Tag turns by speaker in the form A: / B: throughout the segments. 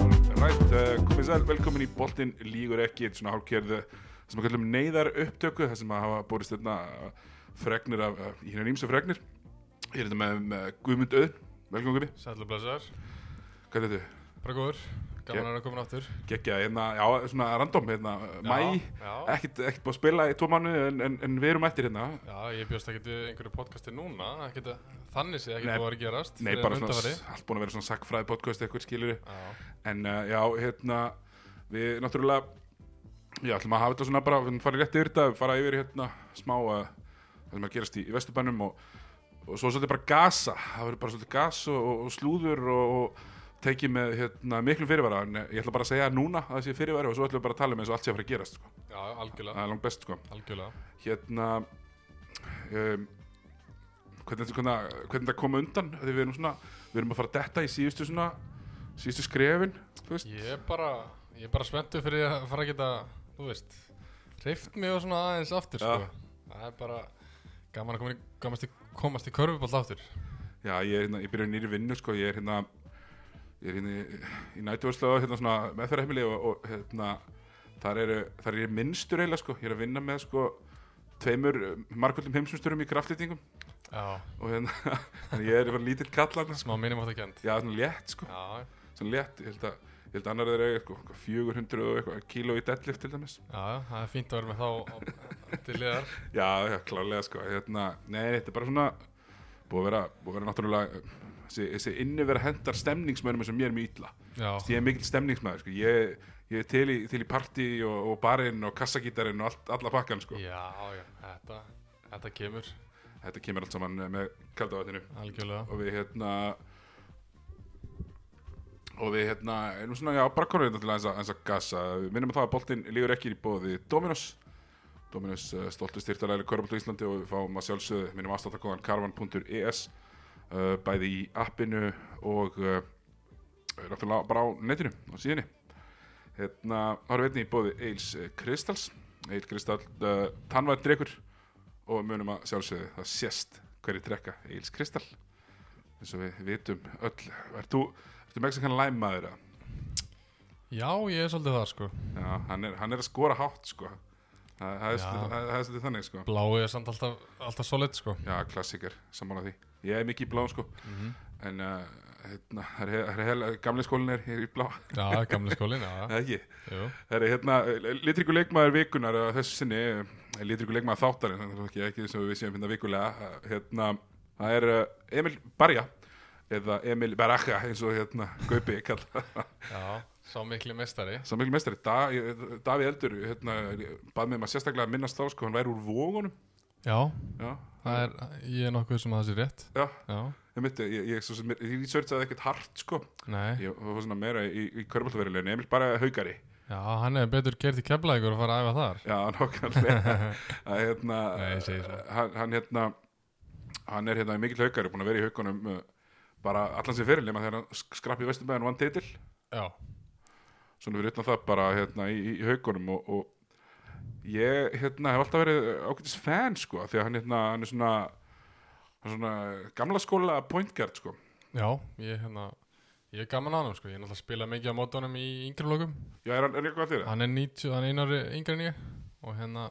A: Alright, uh, komið sæl, velkomin í Boltinn Lígur ekki, eitt svona hálfkerðu sem að kallum neyðar upptöku, það sem að hafa borist þarna uh, fregnir af, uh, í hérna nýmsa fregnir. Ég er þetta með, með Guðmund Öð, velkomin Guðmi,
B: Sætla blessaðar,
A: hvað er þetta?
B: bara góður, gaman að vera komin aftur
A: Gekja, hérna, já, svona random, hérna,
B: Já,
A: mæ,
B: já.
A: ekkert, ekkert búið að spila í tvo mannu en, en, en við erum mættir hérna.
B: Já, ég bjóst ekkert við einhverju podcasti núna, ekkert að þannig sé ekkert
A: Nei,
B: að vera að gerast
A: Nei,
B: fyrir
A: bara
B: en
A: svona,
B: undanfari.
A: s- allt búin að vera svona sakkfræði podcast eitthvað skilur
B: Já,
A: En uh, já, hérna, við náttúrulega, já, ætlum að hafa þetta svona bara, við farum rétt yfir þetta, við fara yfir hérna smá uh, það sem er að gerast í, í Vesturbænum og, og svo svolítið bara gasa, það verður bara svolítið gas og, og, og slúður og, og tekið með hérna, miklu fyrirvara, en ég ætla bara að segja núna að það sé fyrirvara og svo ætlum við bara að tala um eins og allt sé að fara að gerast, sko.
B: já, algjörlega,
A: það er langt best, sko.
B: algjörlega
A: Hérna, um, hvernig, hvernig, hvernig það koma undan, Af því við erum svona, við erum að fara að detta í síðustu svona, síðustu skrefin, þú veist.
B: Ég er bara, ég er bara spenntu fyrir að fara að geta, þú veist, hreift mig og svona aðeins aftur,
A: Já.
B: sko Það er bara gaman að komin í, komast í, komast í körfuball aftur
A: Já, ég, er hérna, ég byrja nýri vinnu, sko, ég er hérna, ég er hérna í, í nætuvörslega, hérna svona meðferðarheimili og, og hérna, þar eru, þar er ég minnstur eiginlega, sko, ég er að vinna með, sko, tveimur markvöldum heimsumsturum í kraftlýtingum
B: Já,
A: og hérna, þannig ég er bara lítill kallar, sko,
B: smá mínum átt að kjönd
A: já, svona létt, sko,
B: Já,
A: svona létt, ég held að, ég held að annar þeirra, eiga, sko, 400 og eitthvað kíló í deadlift til dæmis.
B: já, já, það er fínt að vera með þá á- til liðar
A: Já, já, klárlega sko hérna, Nei, þetta er bara svona Búið að vera, búið að vera náttúrulega eh, Þessi, þessi innivera hendar stemningsmönnum sem ég er mjög illa
B: Já,
A: Ég er mikill stemningsmöður sko. Ég, ég er til í, til í partí og, og barinn og kassagítarinn og allt, alla pakkan sko.
B: já, já, þetta, þetta kemur,
A: Þetta kemur allt saman eh, með kaldavatninu
B: algjörlega
A: Og við hérna Og við hérna erum svona, já, bara konur hérna til aðeins að, aðeins að gasa Við minnum að það að boltinn lígur ekki í bóði Dominos Dominus eh, stoltu styrtaræli Körbóltu Íslandi og við fáum að sjálfsögðu minnum aðstáttakóðan karvan.es uh, E bæði í appinu og uh, náttúrulega bara á netinu á síðunni hérna ára veitni í bóði Eils eh, Kristals Eil Kristal uh, tannvæð drekur og við munum að sjálfsögðu það sést hverju drekka Eils Kristal eins og við vitum öll Ert þú, ertu mexikan læmaður að
B: Já, ég er svolítið það, sko
A: Já, hann er, hann er að skora hátt sko Það það er
B: Já.
A: svolítið- það- það er svolítið þannig sko
B: Bláu er samt alltaf, alltaf solid sko
A: Já, klassikar, sammála því Ég er mikið í blá sko En uh, hérna, það er- það er heila- gamli skólin er, er í blá
B: Já, gamli skólin, já,
A: Það er ekki
B: jú
A: Það er hérna, litriku leikmaður vikunar að þessu sinni, litriku leikmaður þáttarinn þannig að það er ekki sem við séum finna vikulega eh, hérna, það er eh, Emil Barja eða Emil Baraja eins og hérna Gaupi kalla
B: Já, sá mikli mestari
A: Samil mestari, da, Davi Eldur hérna, bað mig um að sérstaklega minnast þá sko, hann væri úr vógunum
B: Já,
A: Já,
B: það er, ég er nokkuð sem að það sé rétt
A: já,
B: Já,
A: ég myndi, ég, ég, svo sem- ég, ég researchaði ekkert hart sko
B: nei,
A: Ég var svona meira í, í körbáltaverulegin, Emil bara haugari.
B: já, hann er betur gert í keflaðingur að fara að æfa þar
A: Já, nokkanlega. að hérna,
B: Nei, ég segi svo.
A: hann, hann hérna, hann er hérna mikill haugari, búin að vera í haugunum uh, bara allan sem fyrirlega þegar hann sk- skrapp í Vesturbæðan og vann titil.
B: Já,
A: Svona fyrir utan það bara hérna í, í- í haugunum og, og ég hérna hef alltaf verið ágætis fan sko, því að hann hérna, hann er svona, hann er svona gamla skóla point guard sko.
B: já, ég hérna Ég er gaman að hann sko, ég er náttúrulega að spila mikið á mótunum í yngri flokum
A: Já, er hann, er eitthvað allir það?
B: Hann er 90, hann er einari yngri en ég Og hérna,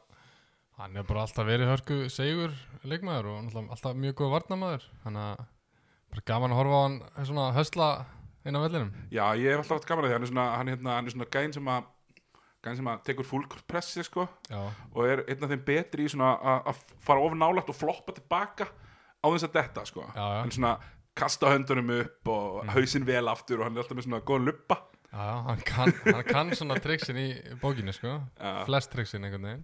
B: hann er bara alltaf verið hörku segur leikmaður Og náttúrulega alltaf mjög góð varnamaður Þannig að bara gaman að horfa á hann eh, svona hösla inn á vellinum
A: Já, ég hef alltaf haft gaman að því, hann er svona, hann, er hérna, hann er svona gæn sem að, gæn sem að tekur fullkortpressi, sko,
B: Já,
A: og er einn af þeim betri í svona að- að fara ofur nálægt og floppa tilbaka á þess að detta, sko.
B: Já, já.
A: Hann er svona kasta höndunum upp og hausinn vel aftur og hann er alltaf með svona góðan luppa.
B: Já, já, hann kann, hann kann svona triksin í bókinu, sko.
A: Já.
B: Flest triksin einhvern veginn.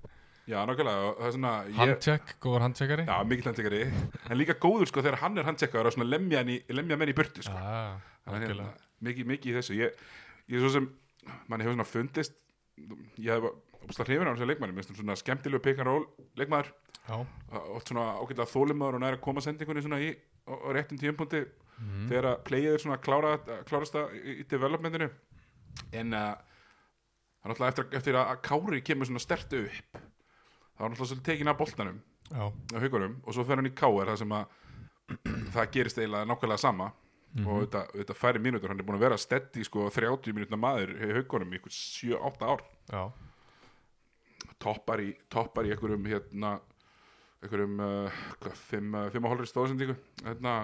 A: Já, nákvæmlega, og það er svona, ég,
B: Handcheck, góður handcheckari.
A: já, mikill handtekari, en líka góður, sko, þegar hann er handtekkaður og svona lemja, hann í, lemja menn í burtu, sko.
B: já,
A: Þannig að,
B: algjörlega.
A: hérna, mikið, mikið í þessu ég, ég er svo sem, mann hefur svona fundist ég hef opstað hrifin á þessu leikmanni mér finnst hann svona skemmtilegu pick and roll leikmaður,
B: Já,
A: oft svona ágætlega þólimaður og næra að koma sendingunni svona í á, á réttum tímpúndi
B: Mhm.
A: þegar að playið er svona að klára, að klárast það í, í developmentinu en uh, hann alltaf eftir, eftir að, að Kári kemur svona stertu upp þá er hann alltaf svolítið tekin af boltanum
B: já,
A: á haugunum og svo fer hann í K.R. það sem að það gerist eiginlega nákvæmlega sama
B: Mhm.
A: og þetta, þetta færi mínútur, hann er búin að vera steady sko 30 mínútna maður í haugunum í ykkur 7-8 ár
B: já,
A: toppar í, toppar í einhverjum hérna einhverjum uh, hvað, fimm, uh, fimm og hálfri stóðsendingu hérna,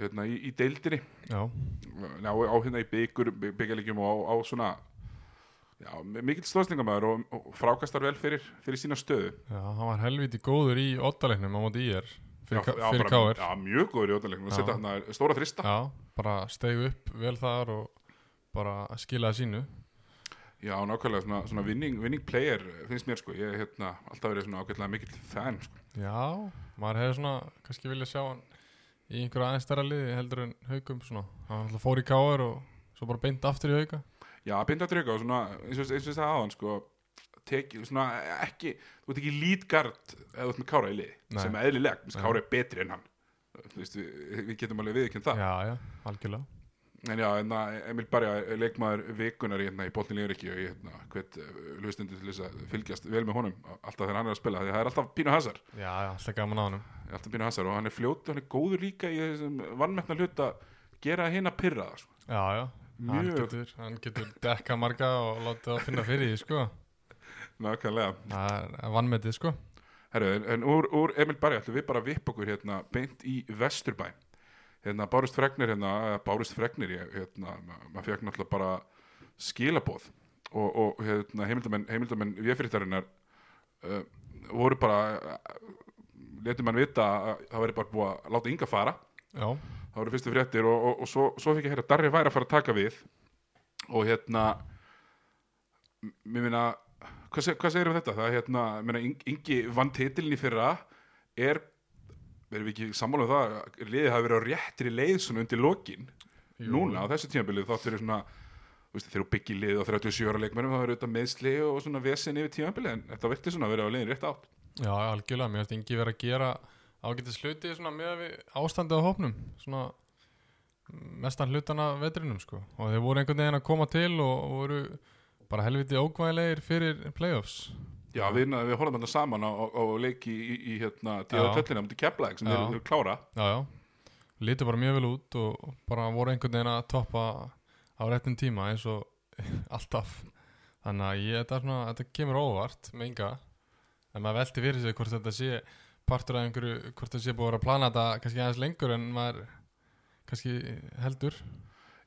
A: hérna í, í deildinni
B: já,
A: á, á hérna í byggur, byggjarleikjum og á, á svona já, mikill stóðsendingamæður og, og frákastar vel fyrir, fyrir sína stöðu
B: já, hann var helviti góður í oddalegnum á móti í er fyrir, já, fyrir
A: bara-
B: káir já.
A: já, mjög góður í ótalegnum og setja hérna stóra þrista já,
B: bara stegu upp vel þar og bara skilaði sínu
A: nákvæmlega svona, svona vinning, vinning player finnst mér sko ég hérna alltaf verið svona ágætlega mikill fan sko.
B: já, maður hefði svona kannski viljað sjá hann í einhverju aðeins stærra liði heldur en haugum svona, hann alltaf fór í káir og svo bara beint aftur í hauga
A: Já, binda trygga og svona, eins og, eins og það aðan sko, teki, svona, ekki þú ert ekki lítgard eða þú ert með Kára í liði,
B: Nei.
A: sem er eðlileg, Þú veist,
B: Nei.
A: Kára er betri en hann þú veist, við, við getum alveg viðkjönd það
B: já, já, algjörlega
A: en já, en að Emil Barja er leikmaður vikunar í, hérna, í Bóltin Líðuríki og ég hérna, hvet hlustendur til þess að fylgjast vel með honum alltaf þegar hann er að spila, því það er alltaf pínu hasar
B: já, já, alltaf gaman á hann
A: alltaf pínu hasar og hann er fljótur, hann er góður líka í þessum vannmætna hluta gera hinn að pyrra það, sko.
B: Já, já, hann
A: Mjög.
B: getur, hann getur dekka marga og láta það finna fyrir því, sko.
A: nákvæmlega
B: Það er vannmetið, sko.
A: Herru, en, en úr, úr Emil Barri ætlum við bara að vippa okkur hérna beint í Vesturbæn hérna Bárust Fregnir hérna, eða Bárust Fregnir ég, hérna, ma- maður fekk náttúrulega bara skilaboð og, og hérna, heimildamenn, heimildamenn véfyrirtarinnar uh, voru bara uh, letum mann vita að það væri bara búið að láta ynga fara
B: Já,
A: það voru fyrstu fréttir og, og, og svo, svo fikk ég hérna Darri væri að fara að taka við og hérna m- mér minna hvað, seg- hvað segir um þetta? það er hérna, minna, Ingi vann titilin í fyrra er erum við ekki sammála um það að liðið hafi verið á réttri leið svona undir lokin
B: Jú.
A: núna á þessu tímabilið þá fyrir svona þú veist, þegar þú byggir lið á 37 ára leikmennum þá eru þetta meðsli og svona vesen yfir tímabilið en þetta virti svona að vera á leiðin rétt átt
B: já, algjörlega, mér finnst Ingi verið að gera ágætis hluti svona með við ástandið á hópnum, svona mestan hlutan af vetrinum, sko. Og þeir voru einhvern veginn að koma til og og voru bara helviti ógvæðilegir fyrir playoffs.
A: Já, við, við horfum þetta saman á, á, á leiki í, í, í hérna,
B: Já.
A: djöðutöllina mútið keflaðið sem
B: Já.
A: þeir eru klára
B: Já, já, lítur bara mjög vel út og bara voru einhvern veginn að toppa á réttum tíma eins og alltaf. Þannig að ég, þetta, er svona, þetta kemur óvart með ynga, en maður velti fyrir sig hvort þetta sé partur af einhverju, hvort þetta sé búið að vera að plana þetta kannski aðeins lengur en maður kannski heldur.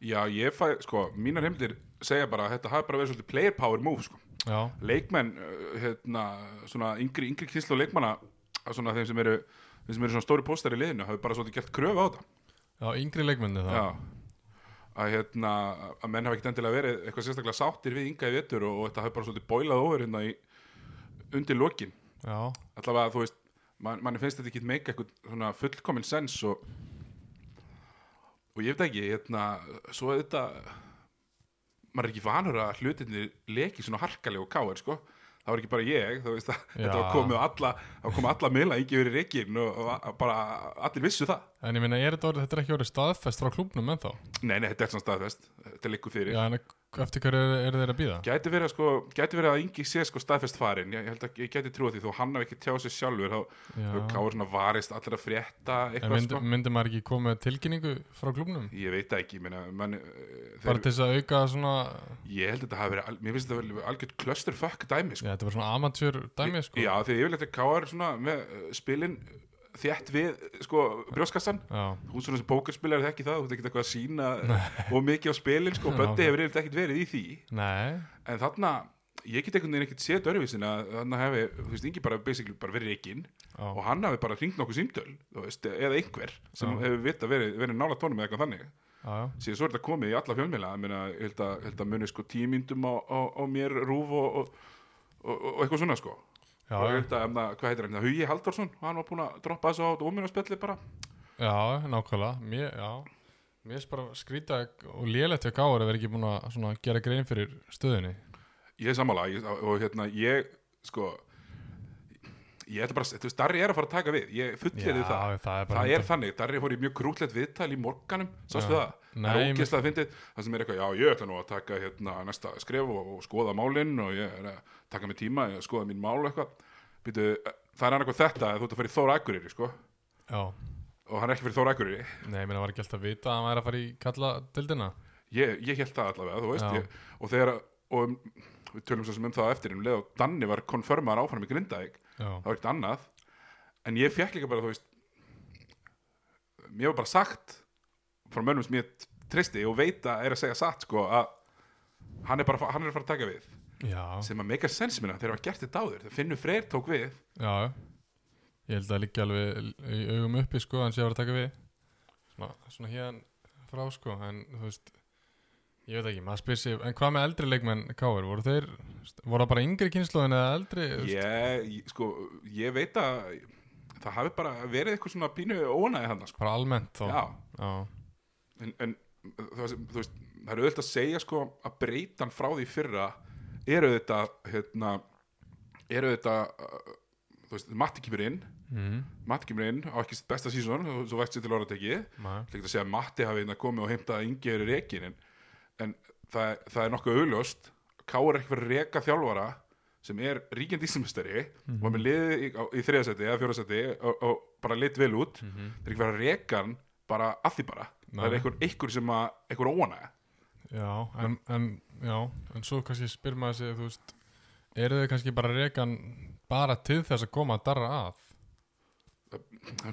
A: Já, ég fæ, sko, mínar heimildir segja bara að þetta hafi bara verið svolítið player power move, sko
B: Já,
A: Leikmenn, uh, hérna, svona yngri, yngri kynslu leikmanna að svona þeim sem eru, þeim sem eru svona stóri póstar í liðinu hafi bara svolítið gert kröfu á þetta
B: já, yngri leikmenni þá.
A: Já að hérna, að menn hafa ekkert endilega verið eitthvað sérstaklega sáttir við ynga í vetur og, og þetta hafi bara svolítið bólað over hérna í undir lokin
B: Já,
A: allavega þú veist man, mann finnst þetta ekki meika eitthvað svona fullkomin sens og og ég veit ekki hérna, svo er þetta maður er ekki vanur að hlutinni leki svona harkaleg og káir sko það var ekki bara ég, þú veist að
B: Já.
A: þetta var komið á alla, það kom alla meila ekki verið reikin og, og a- bara allir vissu það
B: en ég meina, er þetta, orðið, þetta er ekki orðið staðfest frá klúbnum ennþá.
A: nei, nei, þetta er svona staðfest, þetta liggur fyrir
B: Já, en eftir hverju eru er þeir að býða?
A: Gæti verið, að, sko, gæti verið að yngi sé sko staðfest farin, ég, ég held að ég gæti trúið því þó hann hafi ekki tjáð sér sjálfur þá hefur Káur svona varist allir að frétta
B: En
A: eitthvað
B: myndi,
A: sko
B: myndi maður ekki koma með tilkynningu frá klúbnum?
A: Ég veit það ekki, minna, man,
B: bara
A: þeir,
B: til þess að auka svona
A: ég held að þetta hafi verið, al- mér finnst þetta verið algjört clusterfuck dæmi,
B: já,
A: sko.
B: þetta var svona amatjör dæmi sko.
A: Já, því ég vil þetta káar svona með uh, spilin þétt við, sko, brjóskassan.
B: já,
A: Þú ert svona sem pókerspilar þekki það, þú ert ekkert eitthvað að sína og mikið á spilin, sko, og Böddi hefur eitthvað ekkert verið í því.
B: nei,
A: En þarna, ég get einhvern veginn ekkert séð dörfisin að þarna hefði, þú veist, Ingi bara basically bara verið reikinn
B: já,
A: og hann hafi bara hringt nokkuð símtöl, þú veist, eða einhver sem
B: Já.
A: hefur vita verið, verið nála tónum eða eitthvað þannig.
B: já, já,
A: síðan svo er þetta komið í alla fjölmjöla ég meina, ég held að, held að muni sko tímyndum á, á, á mér rúf og, og, og, og eitthvað svona sko
B: já,
A: og ég
B: já,
A: held að, emna, hvað heitir hann, Hugi Haldarsson hann var búin að droppa þessu á dóminarspelli bara
B: já, nákvæmlega mér, já, mér er bara skrýta og lélegt hjá gáður að vera ekki búin að svona, gera grein fyrir stöðunni
A: ég er sammála ég, og hérna, ég sko ég ætla bara, að- þú veist, Darri er að fara að taka við ég fullir
B: Já,
A: það,
B: það er bara
A: það er þannig Darri fór í mjög krútlegt viðtal í morganum sástu
B: Já.
A: það, það
B: Nei,
A: er ógeðslega að fyndið það sem er eitthvað, já, ég ætla nú að taka hérna næsta skref og, og skoða málinn og ég er að taka mig tíma, ég skoða mín mál og eitthvað Býtu, það er annað þetta að þú ert að fara í Þóra Akureyri, sko
B: já,
A: og hann er ekki fyrir Þóra Akureyri
B: Nei, ég meina, var ekki alltaf að vita að hann væri að fara í kalla dildina.
A: ég, ég held það allavega, þú veist
B: Já.
A: ég, og þegar, og um, við tölum svo sem um það á eftir um leið og Danni var konfirmaðar áfram í Grindavík,
B: Já,
A: það var ekkert annað en ég fekk líka bara, þú veist mér var bara sagt frá mönnum sem ég tristi og veit að er að segja satt, sko að hann er bara, að fa- hann er að fara að taka við
B: já,
A: sem að meika sens minna þegar var gert þetta áður þegar Finnur Freyr tók við
B: já. Ég held að liggja alveg í augum uppi, sko, hann sé að vera að taka við. Svona, svona héðan frá, sko, en þú veist, ég veit ekki, maður spyr sér, en hvað með eldri leikmenn Káir, voru þeir, voru það bara yngri kynnslóðin eða eldri? þú veist?
A: ég, ég- sko, ég veit að það hafi bara verið eitthvað svona pínu ónæði hann, sko,
B: Bara almennt þá?
A: já
B: Já,
A: en, en það, sem, þú veist, það er auðvitað að segja sko að breytan frá því fyrra eru þetta hérna, eru þetta uh, þú veist, Matti kemur inn
B: Mhm.
A: Matti kemur inn á ekki sitt besta sísón þú, þú veist sér til orðatekið
B: maður.
A: ekki að segja að Matti hafi hérna komið og heimtað að Ingi eru rekin en, en það, það er nokkuð augljóst Ká er ekki fyrir að reka þjálfara sem er ríkjandi íslumestari
B: Mhm.
A: og er með liðið í, á- í þriðasæti eða fjóðasæti og, og bara lit vel út það er ekki fyrir að reka hann bara að því bara það er
B: Mhm. Nei.
A: einhver, einhver sem að einhver óanæg
B: Já, en, en, já, en svo kannski spyr maður sig, þú veist, eru þau kannski bara rekan bara til þess að koma að darra af?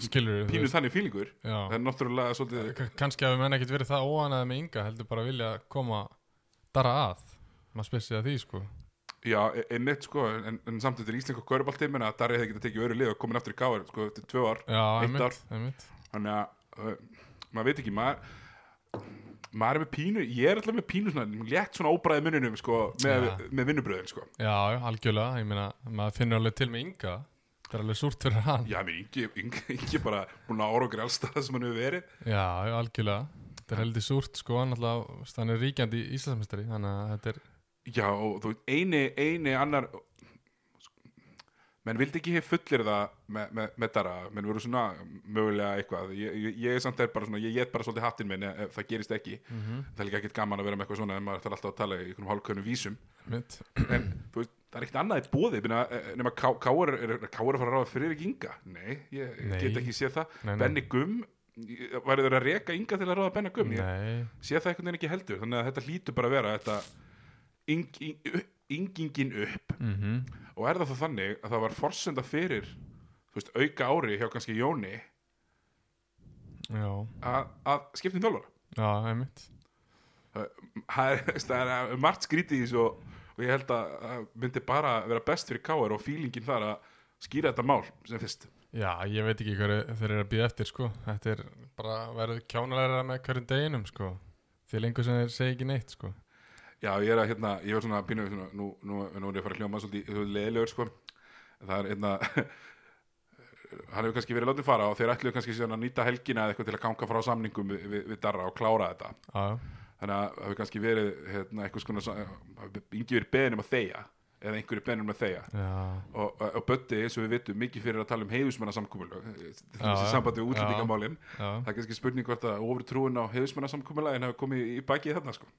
B: Skilur þú
A: pínu
B: veist?
A: þannig fílingur það
B: Já,
A: er náttúrulega svolítið
B: K- kannski hafi menn ekkert verið það óanæði með ynga, heldur bara að vilja koma darra að. Maður spyr sig að því, sko.
A: Já, e- einmitt sko, en, en samt þetta er íslenska körubalti, menna að Darri hefði getið tekið öru lið og komin aftur í káar, sko, eftir tvö ár
B: Já,
A: Eitt ár.
B: einmitt, einmitt.
A: þannig að uh, maður veit ekki maður, maður er með pínu ég er alltaf með pínu svona létt svona óbræði munninum sko, með,
B: Ja.
A: með vinnubröðin sko.
B: Já, já, algjörlega, ég meina, maður finnur alveg til með ynga. Það er alveg súrt fyrir hann. Já,
A: já, mér ingi, ingi, ingi bara búin að ára og grælsta það sem hann hefur verið
B: já, algjörlega. Það er heldur súrt, sko, hann alltaf, þú veist, hann er ríkjandi í Íslandsmeistari, þannig að þetta er,
A: já, og þú veit, eini, eini annar menn vildi ekki hef fullir það með, með, með dara, menn voru svona mögulega eitthvað, ég, ég, ég samt er bara svona ég get bara svolítið hattinn minn ef, ef það gerist ekki það er líka ekkert gaman að vera með eitthvað svona en maður þarf alltaf að tala í einhvern hálfkönum vísum
B: einmitt,
A: en þú veist, það er ekkert annað í bóði byrna, eh, nema K- Káar er, er Káar að fara að ráða fyrir ekki Inga nei, ég
B: Nei.
A: get ekki séð það
B: Nei, nei.
A: Benny Gum, ég- væri þeir að reka Inga til að ráða Benny Gum, ég
B: nei.
A: sé það einhvern veginn ekki heldur þannig að þetta hlýtur bara að vera þetta yng, yng, yngingin upp
B: Mhm.
A: og er það þá þannig að það var forsenda fyrir þú veist, auka ári hjá kannski Jóni
B: Já,
A: að, að skiptum þjálfara
B: já, einmitt
A: það er- það er margt skrítið í þessu og, og ég held að það myndi bara vera best fyrir Káar og fílingin þar að skýra þetta mál sem fyrst
B: Já, ég veit ekki hverju þeir eru að býða eftir sko Þetta er bara verið kjánalæra með hverjum deginum sko Því lengur sem þeir segja ekki neitt sko
A: Já, ég er að hérna, ég var svona pínu svona, nú, nú, nú er ég að fara að hljóma svolítið svolítið leiðilegur sko En það er hérna hann hefur kannski verið látið fara og þeir ætluðu kannski síðan að nýta helgina eða eitthvað til að ganga frá samningum við, við, við Darra og klára þetta
B: Já,
A: þannig að það hefur kannski verið hérna, eitthvað skona, yngi verið beðinum að þeia eða einhverju beðinum um að þeia
B: já,
A: og, og Bötti, eins og við vitum, mikið fyrir að tala um heiðusmannasamkúmulag þessi
B: já.
A: sambandi við
B: Já.
A: útlendingamálin
B: já,
A: það er kannski spurning hvort að ofur trúin á heiðusmannasamkúmulagin hefur komið í bakið þarna sko.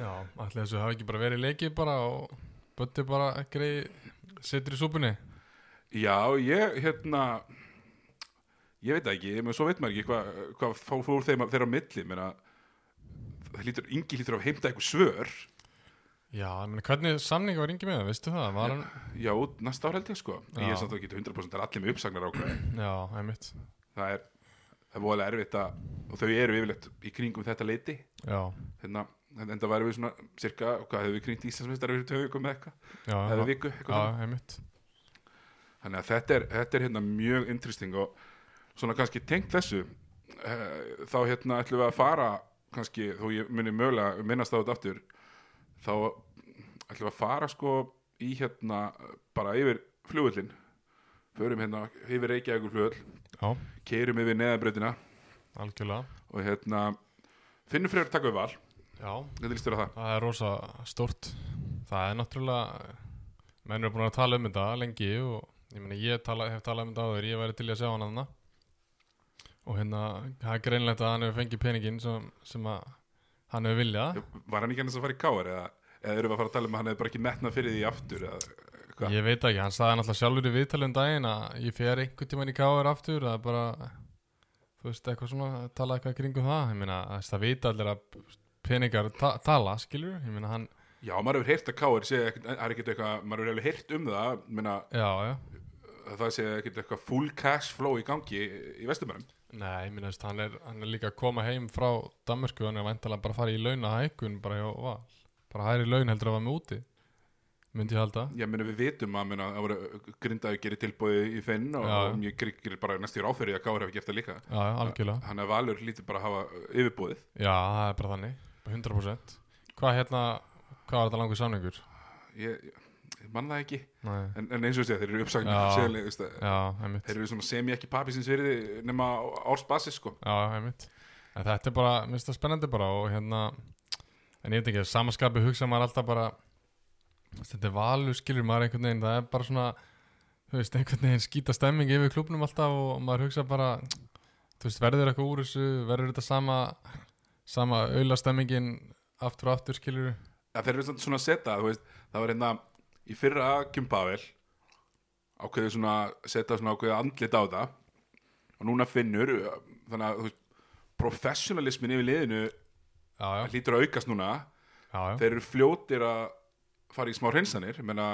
B: já Ætli þessu hafi ekki bara verið í leikið bara og Bötti bara greið Sittur í súpunni
A: já, ég hérna ég veit það ekki, menn svo veit maður ekki hvað hva, hva, fór þeim, þeirra á milli menna, það lítur, yngi lítur að heimta eitthvað svör
B: Já, ég meni, hvernig samning var yngi með það, veistu það? Var hann,
A: já, út næsta ár held ég sko ég
B: Já.
A: er samt að geta 100% það er allir með uppsagnar ákveð
B: já, einmitt
A: það er, það er voðalega erfitt að og þau eru yfirleitt í kringum þetta leiti
B: Já,
A: hérna, en það væri við svona cirka, hvað hefur við kringt Íslandsmeistar við töfum ykkur með eitthvað,
B: já,
A: eða
B: já,
A: viku eitthvað
B: já,
A: þannig.
B: einmitt
A: þannig að þetta er, þetta er hérna mjög interesting og svona kannski tengt þessu eh, þá hérna ætlum við að fara kannski, þó ég muni mögulega minnast á þetta aftur þá ætlum við að fara sko í hérna bara yfir flugullin förum hérna yfir Reykjavíkur flugull
B: Já,
A: keirum yfir neðanbreytina
B: algjörlega
A: og hérna finnum fyrir að taka við val,
B: Já,
A: þetta lístur á það
B: Það er rosa stort Það er náttúrulega menn eru búin að tala um þetta lengi og ég meina ég tala, hef talað um þetta áður ég væri til í að sjá hann aðna og hérna, það er greinlegt að hann hefur fengið peningin sem, sem að hann hefur viljað
A: Var hann ekki annars að fara í káar eða, eða erum við að fara að tala um að hann hefði bara ekki metnað fyrir því aftur eða hvað?
B: Ég um veit ekki, hann sagði náttúrulega sjálfur í viðtalum daginn að ég fer einhvern tímann í káður aftur það er bara þú veist, eitthvað svona, tala eitthvað kringum það ég meina, þú veist, það vita allir að peningar ta tala, skilur ég meina, hann,
A: Já, maður hefur heyrt að Káir sé ekkert, það er ekkert eitthvað, maður hefur heyrt um það, menna,
B: já, já
A: það sé ekkert eitthvað full cash flow í gangi í vestumörum.
B: Nei, ég meina, þú veist, hann er, hann er líka að koma heim frá Danmarku, hann er væntalega bara að fara í launahækun, bara hjá val bara hæri laun heldur að var með úti myndi ég halda
A: Já, menna, við vitum að, menna, það voru grindaði gerir tilbúið í finn og,
B: Já.
A: og ég gerir gerir bara næstíður áfyrir að Káir hefur gert það líka.
B: Já, já, algjörlega,
A: Þannig að Valur lítið bara að hafa uh, yfirbúið.
B: já, það er bara þannig 100% Hvað hérna, hvað var þetta langur samningur?
A: Ég, ég man það ekki,
B: Nei,
A: en, en eins og sé, þeir eru uppsagnar,
B: Já.
A: sérlega, veist það.
B: já, einmitt
A: Þeir eru svona sem ég ekki pappi sinns virði nema á ársbasis sko.
B: Já, einmitt en Þetta er bara, mér finnst það spennandi bara og hérna, en ég veit ekki samaskapi hugsa maður alltaf bara þú veist, þetta er valur skilur maður einhvern veginn það er bara svona, þú veist, einhvern veginn skýta stemming yfir klubnum alltaf og maður hugsa bara, þú veist, verður eitthvað úr þessu verður þetta sama sama auðla stemmingin aftur og aftur skilur,
A: að þeir eru samt svona að setja þú veist, það var hérna í fyrra Kjumpavel ákveðið svona setja svona ákveðið andlit á þetta og núna finnur uh, þannig að þú veist, professionalismin yfir liðinu
B: já, já,
A: hlýtur að aukast núna
B: já, já.
A: þeir eru fljótir að fara í smá hreinsanir menna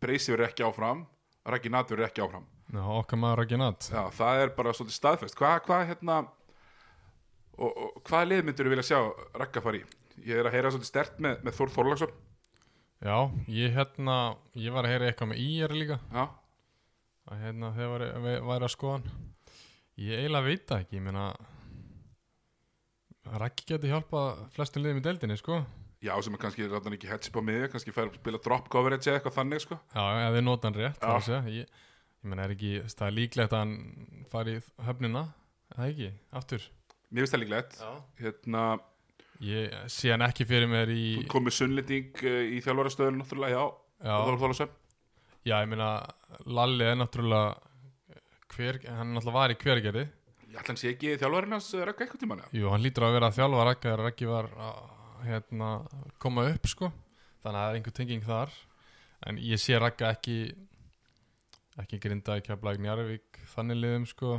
A: Breysi verður ekki áfram Raggi Nat verður ekki áfram
B: Ná, okkar maður ekki nátt
A: Já, það er bara svolítið staðfest hvað hva, hérna og, og hvaða lið myndur vilja sjá Ragga fara í? Ég er að heyra svolítið stert með, með Þór Þorlagsson
B: já, ég hérna ég var að heyra eitthvað með IR líka
A: Já,
B: að hérna þegar væri, væri- væri að skoða hann ég eiginlega veit það ekki ég meina Raggi geti hjálpað flestum liðum í deildinni sko já,
A: Já, sem er kannski ráðan ekki hedge upp á miðju, kannski fær að spila drop coverage eða eitthvað þannig, sko.
B: já, ef þið nota hann rétt
A: Já.
B: þar að segja. ég, ég meina er ekki það er líklegt að hann fari í höfnina er það ekki, aftur
A: Mér finnst það líklegt. Hérna,
B: ég sé hann ekki fyrir mér í
A: þú komið sunnlending eh, í þjálfarastöðun, náttúrulega, já.
B: já,
A: Þór Þorlásson.
B: já, ég meina Lalli er náttúrulega hver, hann náttúrulega var í hvergerði
A: Ég ætla hans ekki þjálfarinn hans eh, rekka eitthvað tíma, já.
B: Jú, hann lítur að vera að þjálfa Ragga þegar Raggi var að hérna, koma upp sko þannig að það er einhver tenging þar en ég sé Ragga ekki ekki grinda ekki að blæk Njarvík þannig liðum sko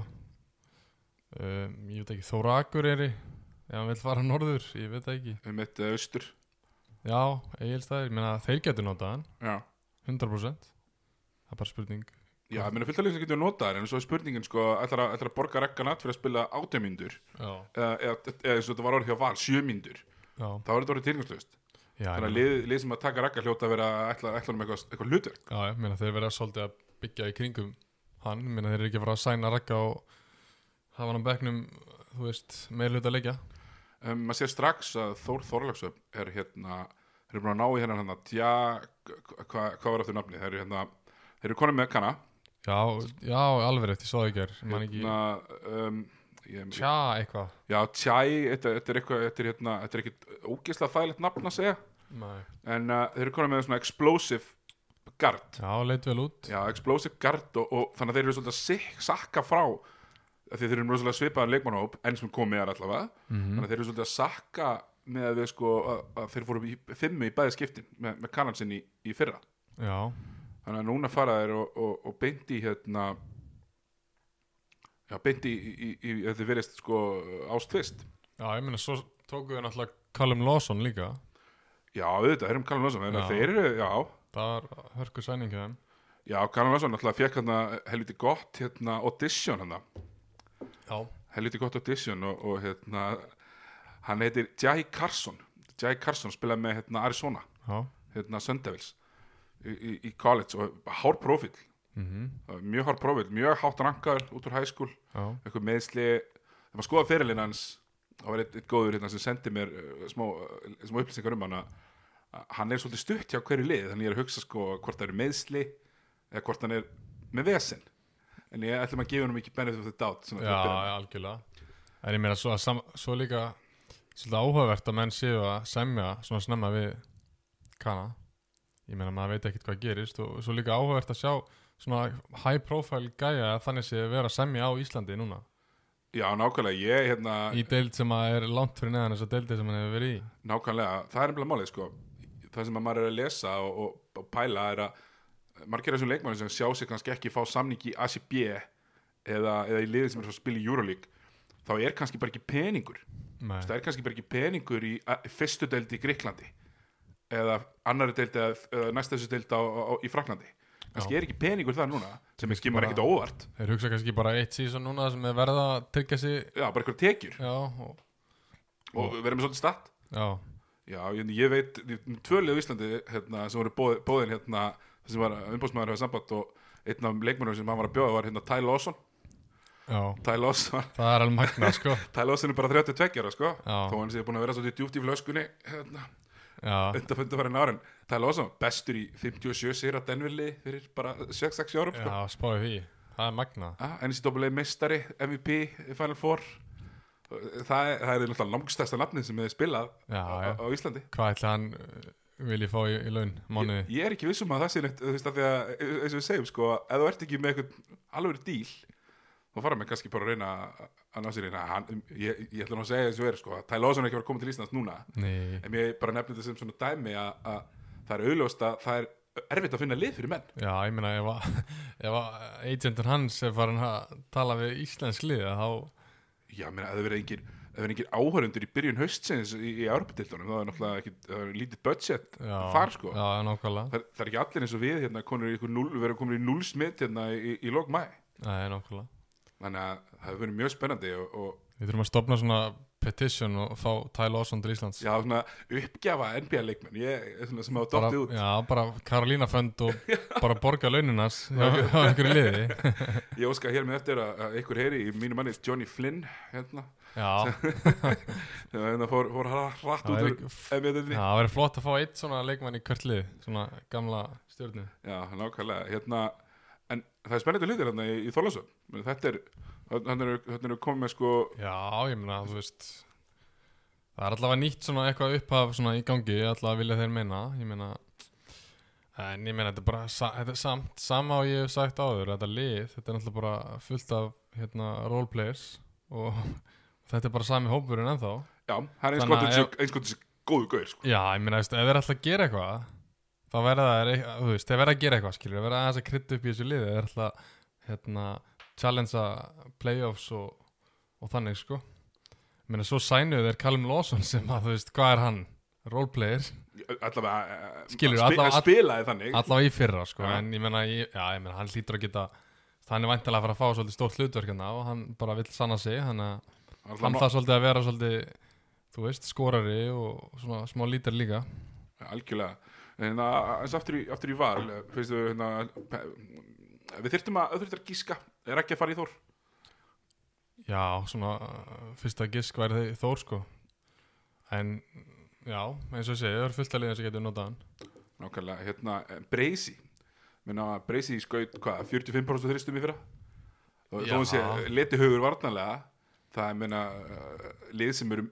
B: um, ég veit ekki Þóra Akur eri ef hann vil fara norður, ég veit það ekki
A: Um eitt uh, austur.
B: Já, Egilstaðir, ég meina þeir getur notað hann
A: Já.
B: 100% það er bara spurning
A: Já, ég meina fullt af liðum sem getur notað, en svo er spurningin, sko, ætlar að, ætlar að borga rekka natt fyrir að spila átjamyndur,
B: Já,
A: eða, eða, eða eins og þetta var orðið hjá val, sjömyndur.
B: já,
A: Þá er þetta orðið tilgangslust. Þannig
B: já, ég
A: að
B: meina-
A: lið, lið sem að taka rekka hljóta að vera ætlar, ætlar um eitthvað, eitthvað hlutur.
B: já, ég meina þeir verða svolítið að byggja í kringum hann, ég meina þeir eru ekki að fara að sæna Ragga og hafa hann á bekknum þú veist, meir hluta að leggja
A: um, maður sér strax að Þór Þorlagsöf er hérna, þeir eru búin að ná í hennar hérna, tja, hvað hva hvað var aftur nafni þeir eru hérna, þeir eru konum með kanna
B: Já, já, alveg rétt, ég sá það ekki er man ekki,
A: hérna, um, ég,
B: tja, eitthvað
A: já, tjæ þetta, þetta er eitthvað, þetta er hérna, þetta er ekkit ógeðslega þægilegt nafn að segja
B: Nei.
A: en uh, þeir eru konum með svona explosive guard,
B: Já, leit vel út
A: já, explosive guard og, og þannig að þeir eru svolítið að sikk, sakka frá af því þeir eru rosalega svipaðan leikmannhóp enn sem kom meðan allavega
B: Mhm.
A: þannig að þeir eru svolítið að sakka með að, við, sko, að, að þeir fóru í fimmu í bæði skiptin með, með kannan sinn í, í fyrra
B: Já,
A: þannig að núna fara þeir og, og, og beinti hérna já, beinti í, í, í, í þetta verðist sko ástvist
B: já, ég meina svo tókuðu við náttúrulega Callum Lawson líka
A: já, auðvitað, þeir eru um Kalan Lónsson þannig að
B: Já.
A: þeir eru, já,
B: það var hörku sæning hjá þeim
A: já, Kalan Lónsson alltaf fekk hérna helviti gott hérna audition hérna,
B: Já,
A: helviti gott audition og, og hérna hann heitir Jai Carson Jai Carson spilaði með hérna Arizona
B: já,
A: hérna Sundevils í, í, í college og hár profil
B: mhm,
A: mjög hár profil, mjög hátt rankaður út úr high school,
B: já
A: eitthvað meðsli þegar maður skoða fyrirlin hans það var eitt, eitt góður hérna sem sendi mér uh, smá, uh, smá upplýsingar um hann að að hann er svolítið stutt hjá hverju lið þannig ég er að hugsa sko hvort það eru meðsli eða hvort hann er með vesen en ég ætlum að gefa hann ekki benefit of the doubt svona til
B: Já,
A: að byrja með.
B: já, algjörlega En ég meina svo, að sam, svo líka svolítið áhugavert að menn séu að semja svona snemma við kana Ég meina maður veit ekkert hvað gerist og svo líka áhugavert að sjá svona high profile gæja að þannig séu vera að semja á Íslandi núna
A: já, nákvæmlega, ég hérna
B: í deild sem að er langt fyrir neðan þess að deildi sem hann hefur verið í
A: Nákvæmlega, það er nefnilega málið sko Það sem að maður er að lesa og, og, og pæla er að margir af þessum leikmæri sem sjá sig kannski ekki fá samning í ACB eða, eða í liðið sem er að spila í Euroleague þá er kannski bara ekki peningur
B: Nei,
A: það er kannski bara ekki peningur í a- fyrstu deildi í Gríklandi eða annari deildi eða, eða næst þessu deildi á, á, í Fraklandi kannski
B: Já.
A: er ekki peningur það núna sem er
B: Kannski
A: skimar
B: bara-
A: ekkit á óvart
B: þeir hugsa kannski bara eitt síðan núna sem er verða að tryggja sig
A: já, bara eitthvað tekjur
B: Já, og,
A: og verðum með svolítið statt
B: já,
A: já, ég, ég veit, tvölið á Íslandi hérna, sem voru bóð- bóðin hérna þar sem var umbóðsmaður hefur samband og einn af leikmennum sem hann var að bjóða var hérna Ty Lawson
B: já
A: Ty Lawson,
B: Það er alveg magna, sko
A: Ty Lawson er bara 32 ára sko,
B: Já.
A: þó hann sé búin að vera svolítið djúpt í flöskunni hérna,
B: Já,
A: undanföndu farin árin Það er losum, bestur í 57 sigra Denverli fyrir bara 6-6 árum sko.
B: já, spáði því Það er magna
A: ah, NCAA meistari, MVP Final Four Það er, það er náttúrulega langstæsta nafnið sem hefði spilað
B: Já,
A: á,
B: já.
A: á á Íslandi
B: Hvað ætla hann uh, vilji fá í, í laun mánuði?
A: Ég er ekki vissum að það sé neitt þú veist, af því að, eins og við segjum, sko ef þú ert ekki með eitthvað alveg díl þá fara mig kannski bara að reyna að ná sér reyna, hann, ég, ég ætla nú að segja eins og er sko, að Tæla Ósson er ekki að fara að koma til Íslands núna
B: Nei,
A: en ég bara nefnir þetta sem svona dæmi að, að það er auðljóst að það er erfitt að finna lið fyrir menn
B: já, ég meina ef, að- ef að agentin hans er farin að tala við íslensk lið þá,
A: Já, meina, ef það verið engir, ef það verið engir áhörundur í byrjun haustsins í, í Árbadildunum, þá er náttúrulega ekki, það er lítið budget
B: já,
A: þar sko.
B: Já, nákvæmlega,
A: Það, er- það er ekki allir eins og við, hérna, konur í ykkur núl, við erum komin í núlsmitt hérna í, í, í lok mæ.
B: Nei, nákvæmlega
A: Þannig að það hefur verið mjög spennandi og, og
B: Við þurfum að stopna svona petition og fá Ty Lawson til Íslands
A: já, svona uppgjafa NBA-leikmenn, ég, svona sem hafa dottið út.
B: Já, bara Karolína fönd og bara borga launinas hjá, hjá einhverju liði
A: Ég óska hér með eftir að, að ykkur heyri í mínu manni Johnny Flynn, hérna,
B: Já,
A: þegar hérna fór, fór hratt
B: Það
A: út
B: er
A: úr
B: ekki-
A: NBA-deildinni.
B: Já, það verður flott að fá eitt svona leikmann í hvert lið, svona gamla stjórnu.
A: Já, nákvæmlega, hérna en það er spennandi hlutir hérna í, í Þorlásum þetta er, þannig eru, þarna eru komið með sko,
B: Já, ég meina, þú veist, það er allavega nýtt svona eitthvað upphaf svona í gangi, allavega vilja þeir meina, ég meina, en ég meina, þetta er bara, sa- þetta er samt, sama og ég hef sagt áður, þetta lið, þetta er náttúrulega bara fullt af, hérna, roleplayers og þetta er bara sami hópurinn ennþá.
A: já, það er eins
B: Þannig
A: gott
B: að
A: þessi,
B: ef-
A: eins gott þessi góðu gaur sko.
B: Já, ég meina, þú veist, ef þeir ætla að gera eitthvað, þá verða það, þú veist, þeir verða að gera eitthvað, skilur, þeir verða aðeins að krydda upp í þessu liði, þeir ætla að, hérna, challengea playoffs og, og þannig, sko. Ég meina, svo sænuðu þeir Callum Lawson sem að, þú veist, hvað er hann? Roleplayer,
A: allavega, eh,
B: Skilur,
A: að spi-
B: allavega-
A: að spila þið þannig
B: allavega í fyrra, sko,
A: Já.
B: en ég meina, ég, já, ég meina, hann hlýtur að geta, hann er vantilega að fara að fá svolítið stórt hlutverkana og hann bara vill sanna sig, þannig að
A: allavega,
B: hann
A: ná-
B: þarf svolítið að vera svolítið, þú veist, skorari og svona smá lítar líka.
A: algjörlega, en það eins aftur í, aftur í val, eh, finnstu hérna, pe- við þyrftum að, þyrftum að gíska er ekki að fara í Þór
B: Já, svona uh, fyrsta gisk væri þið Þór sko En já, eins og ég segi, það er fullt að liðin sem getur notað hann
A: nákvæmlega, hérna, eh, Breisi minna, Breisi skaut, hvað, 45% þristum í fyrra og þó
B: Já.
A: hann sé leti hugur varnanlega það er, minna, eh, lið sem eru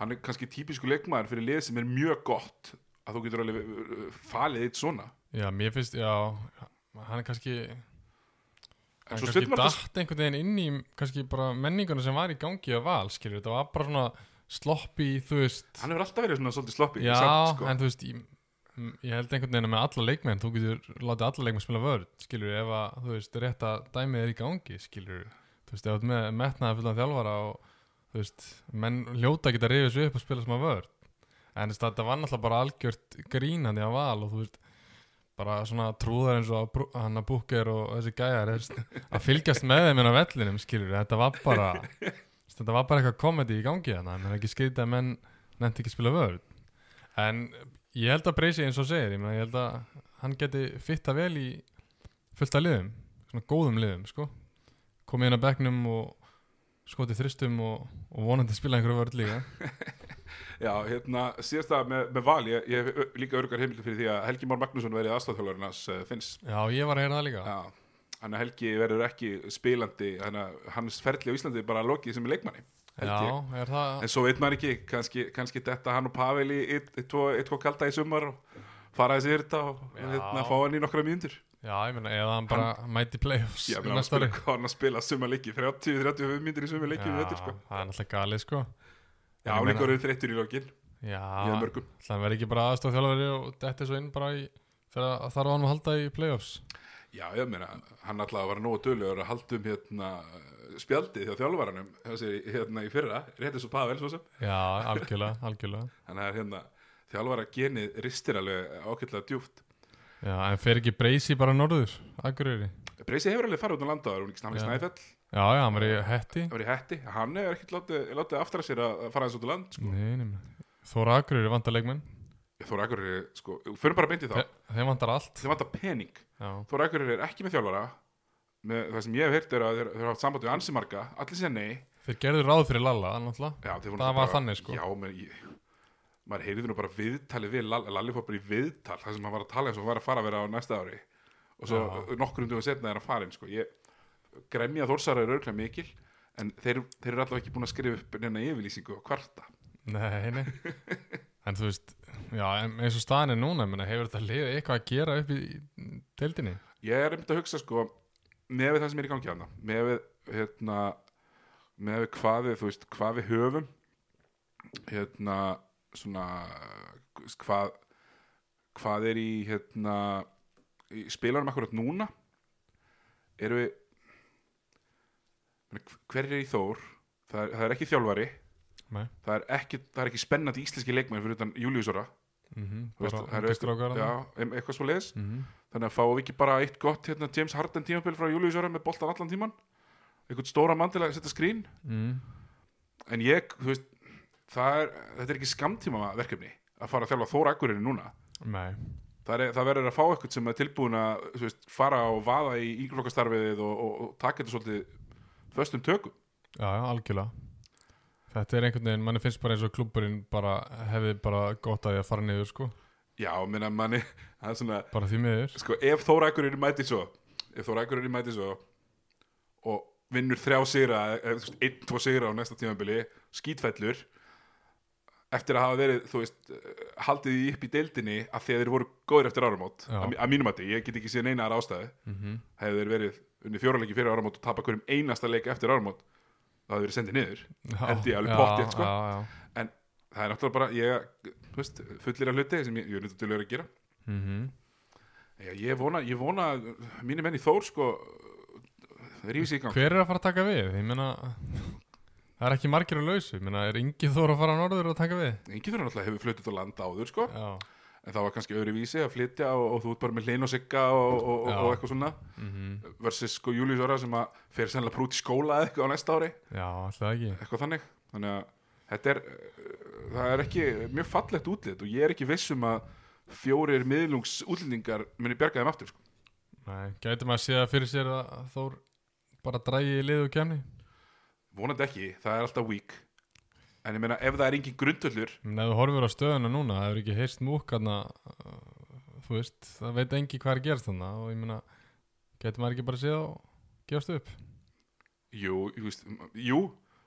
A: hann er kannski típisku leikmaður fyrir lið sem er mjög gott að þú getur alveg eh, falið eitt svona
B: Já, mér finnst, já, hann er kannski Hann
A: en svo
B: kannski
A: stundum alltaf
B: datt einhvern veginn inn í kannski bara menninguna sem var í gangi á val, skilur, þetta var bara svona sloppy, þú veist
A: hann hefur alltaf verið svona svolítið sloppy
B: Já,
A: samt, sko.
B: en þú veist, ég, m- ég held einhvern veginn að með alla leikmenn, þú getur látið alla leikmenn spila vörð, skilur, ef að, þú veist, rétt að dæmið er í gangi, skilur þú veist, ef þú ert með metnaði fullan þjálfara og, þú veist, menn hljóta geta rifið svo upp og spila smá vörð en þú veist, þetta var náttúrulega bara algjört grínandi að val og þú veist bara svona trúðar eins og að brú- hann að búkir og þessi gæjar þú veist, að fylgjast með þeim inn á vellinum skilur þetta var bara þú veist, þetta var bara eitthvað komedi í gangi þannig að menn ekki skrítið að menn nefndi ekki að spila vörð en ég held að Breysi eins og segir, ég, meina, ég held að hann geti fitta vel í fullt af liðum, svona góðum liðum sko. komið inn á bekknum og skotið þristum og, og vonandi spila einhverju vörð líka
A: já, hérna, síðast að með, með val ég, ég hef líka örgar heimildi fyrir því að Helgi Már Magnússon verið aðstofþjálfurinn hans eh, finns
B: já, ég var að heyra það líka
A: já, hann að Helgi verður ekki spilandi, þannig að hans ferli á Íslandi er bara lokið sem leikmanni held ég.
B: Já, er það
A: En svo veit maður ekki, kannski, kannski detta hann og Pavel í eitt, eitt, tvo, eitt tvo kalda í sumar og fara þessi hérta og
B: Já.
A: hérna, fá hann í nokkra mínútur.
B: Já, ég meina, eða hann bara mæti play-offs
A: Já,
B: í
A: menn hann
B: næsta ári
A: spila, hann að spila sumarleiki, 30-35 mínútur í sumarleiki við þetta, sko.
B: það er náttúrulega galið, sko
A: Já,
B: Ég
A: hann
B: meina-
A: líka orðið þreyttur í lokin,
B: Já,
A: ég er mörgum.
B: ætli hann verði ekki bara aðstof þjálfari og detti svo inn bara í þegar þarf á hann að halda í play-offs
A: Já, ég meina, hann alltaf var nógu dölugur að halda um hérna spjaldið hjá þjálfvaranum þessi hérna í fyrra, rétt eins og Pavel svo sem
B: Já, algjörlega, algjörlega
A: þannig að hérna, þjálfvara genið ristir alveg ákveðlega djúft
B: Já, en fer ekki Breysi bara norður Akureyri
A: Breysi hefur alveg farið út á landaðar, hún ekki snafnir
B: Já.
A: snæfell
B: Já, já, hann var í hetti
A: það var í hætti, hann hefur ekkert látið, látið aftra sér að fara þessu út á land sko.
B: Nei, nei, nei. Þóra Akureyri vantar leikmenn
A: Þóra Akureyri, sko, fyrir bara beint í þá
B: Þe- Þeim vantar allt
A: þeim vantar pening,
B: Já,
A: Þóra Akureyri er ekki með þjálfara með, það sem ég hef heyrt er að þeir þeir hafa haft samband við ansi marga, allir segja nei
B: þeir gerðu ráð fyrir Lalla, náttúrulega
A: Já, þeir voru
B: Það
A: náttúrulega
B: var
A: bara-
B: þannig, sko.
A: Já, menn, ég, maður heyrði nú bara viðtalið við Lall- Lalli fór bara í viðtal þar sem hann var að tala eins og hann var að fara að vera á næsta ári og svo
B: Já.
A: nokkrum dögum setna er hann farin sko. ég, gremja þórsara er örglega mikil en þeir, þeir eru allavega ekki búin að skrifa upp neina yfirlýsingu og kvarta
B: Nei, nei En þú veist, já, en eins og staðan er núna menna, hefur þetta lið eitthvað að gera upp í í deildinni?
A: ég er einmitt að hugsa sko með við það sem er í gangi hana með við, hérna, með við hvað við þú veist, hvað við höfum hérna svona hvað, hvað er í hérna í spilarum akkurat núna erum við meina, hver er í Þór það er, það er ekki þjálfari
B: Nei
A: það er ekki, það er ekki spennandi íslenski leikmenn fyrir utan Júliusora
B: mm
A: það
B: Bara
A: eru
B: ungu strákar
A: já,
B: þarna.
A: em- eitthvað svo leiðis
B: Mhm.
A: Þannig að fáum við ekki bara eitt gott hérna, James Harden tímabil frá Július Öra með boltan allan tíman einhvern stóra mann til að setja skrín
B: mm.
A: en ég, þú veist það er, þetta er ekki skamtíma verkefni að fara að þjálfa Þóra Akureyri núna
B: Nei,
A: það, er, það verður að fá eitthvað sem er tilbúin að þú veist, fara og vaða í íglokkastarfiðið og, og, og taka þetta svolítið föstum tökum
B: já, já, algjörlega Þetta er einhvern veginn, manni finnst bara eins og klubburinn bara hefði bara gott að því að fara niður sko
A: já, minna manni, það er svona
B: bara því miður
A: sko, ef Þóra Akureyri mæti svo ef Þóra Akureyri mæti svo og vinnur þrjá sigra eða, þú veist, einn, tvo sigra á næsta tímabili skítfællur eftir að hafa verið, þú veist eh, haldið því upp í deildinni að því að þeir voru góðir eftir áramót,
B: Já.
A: að, mí- að mínum að ég get ekki séð neina aðra ástæðu
B: mm
A: hefðu þeir verið unni fjóralegi fyrir áramót og tapa hverjum einasta leik eftir áramót það hefur verið sendið niður Held ég alveg pottþétt, sko.
B: Já, já,
A: en það er náttúrulega bara, ég, þú veist fullir af hluti sem ég, ég er nýttu til að gera
B: mm
A: Já, ég vona, ég vona að mínir menn í Þór sko rífið sig í gang
B: Hver er að fara að taka við? Ég meina, það er ekki margir að lausu Ég meina, er Ingi Þór að fara á norður og taka við?
A: Ingi þurfa náttúrulega hefur flutit á land áður sko
B: Já,
A: en það var kannski öðru vísi að flytja og, og þú ert bara með hlinn og sigga og, og, og,
B: Já.
A: og eitthvað svona
B: mm
A: versus sko Július Óra sem að fer sennilega prút í skóla eða eitthvað á næsta ári
B: já, alltaf ekki
A: eitthvað þannig þannig að þetta er uh, það er ekki mjög fallegt útlit og ég er ekki viss um að fjórir miðlungs útlendingar muni bjarga þeim aftur sko.
B: Nei, gæti maður að sé það fyrir sér að Þór bara drægi í lið og kemni?
A: vonandi ekki, það er alltaf vík en ég meina ef það er engin grundvöllur
B: En ef þú horfir á stöðuna núna, það hefur ekki heyrst múk aðna, þú veist, það veit engi hvað er að gerast þarna og ég meina, getur maður ekki bara séð og gefast upp?
A: Jú, þú veist, m- jú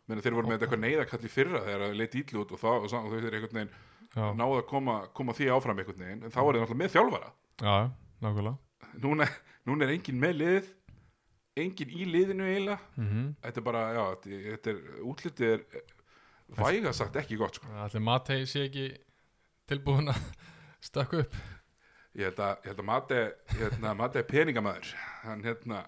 A: menn þeir voru með þetta eitthvað neyðakall í fyrra þegar að leita ítlu út og þá og, sá- og þau þeir einhvern veginn
B: Já,
A: náðu að koma, koma því áfram einhvern veginn en þá er það náttúrulega með þjálfara
B: já, já, nákvæmlega.
A: núna, núna er enginn með liðið enginn í liðinu eiginlega
B: Mm
A: þetta er bara, já, þetta, þetta er útlitið er eh, vægast sagt ekki gott sko.
B: Ætli Matei sé ekki tilbúin að stakka upp.
A: ég held að, ég held að Mate, hérna, Mate er peningamæður hann hérna,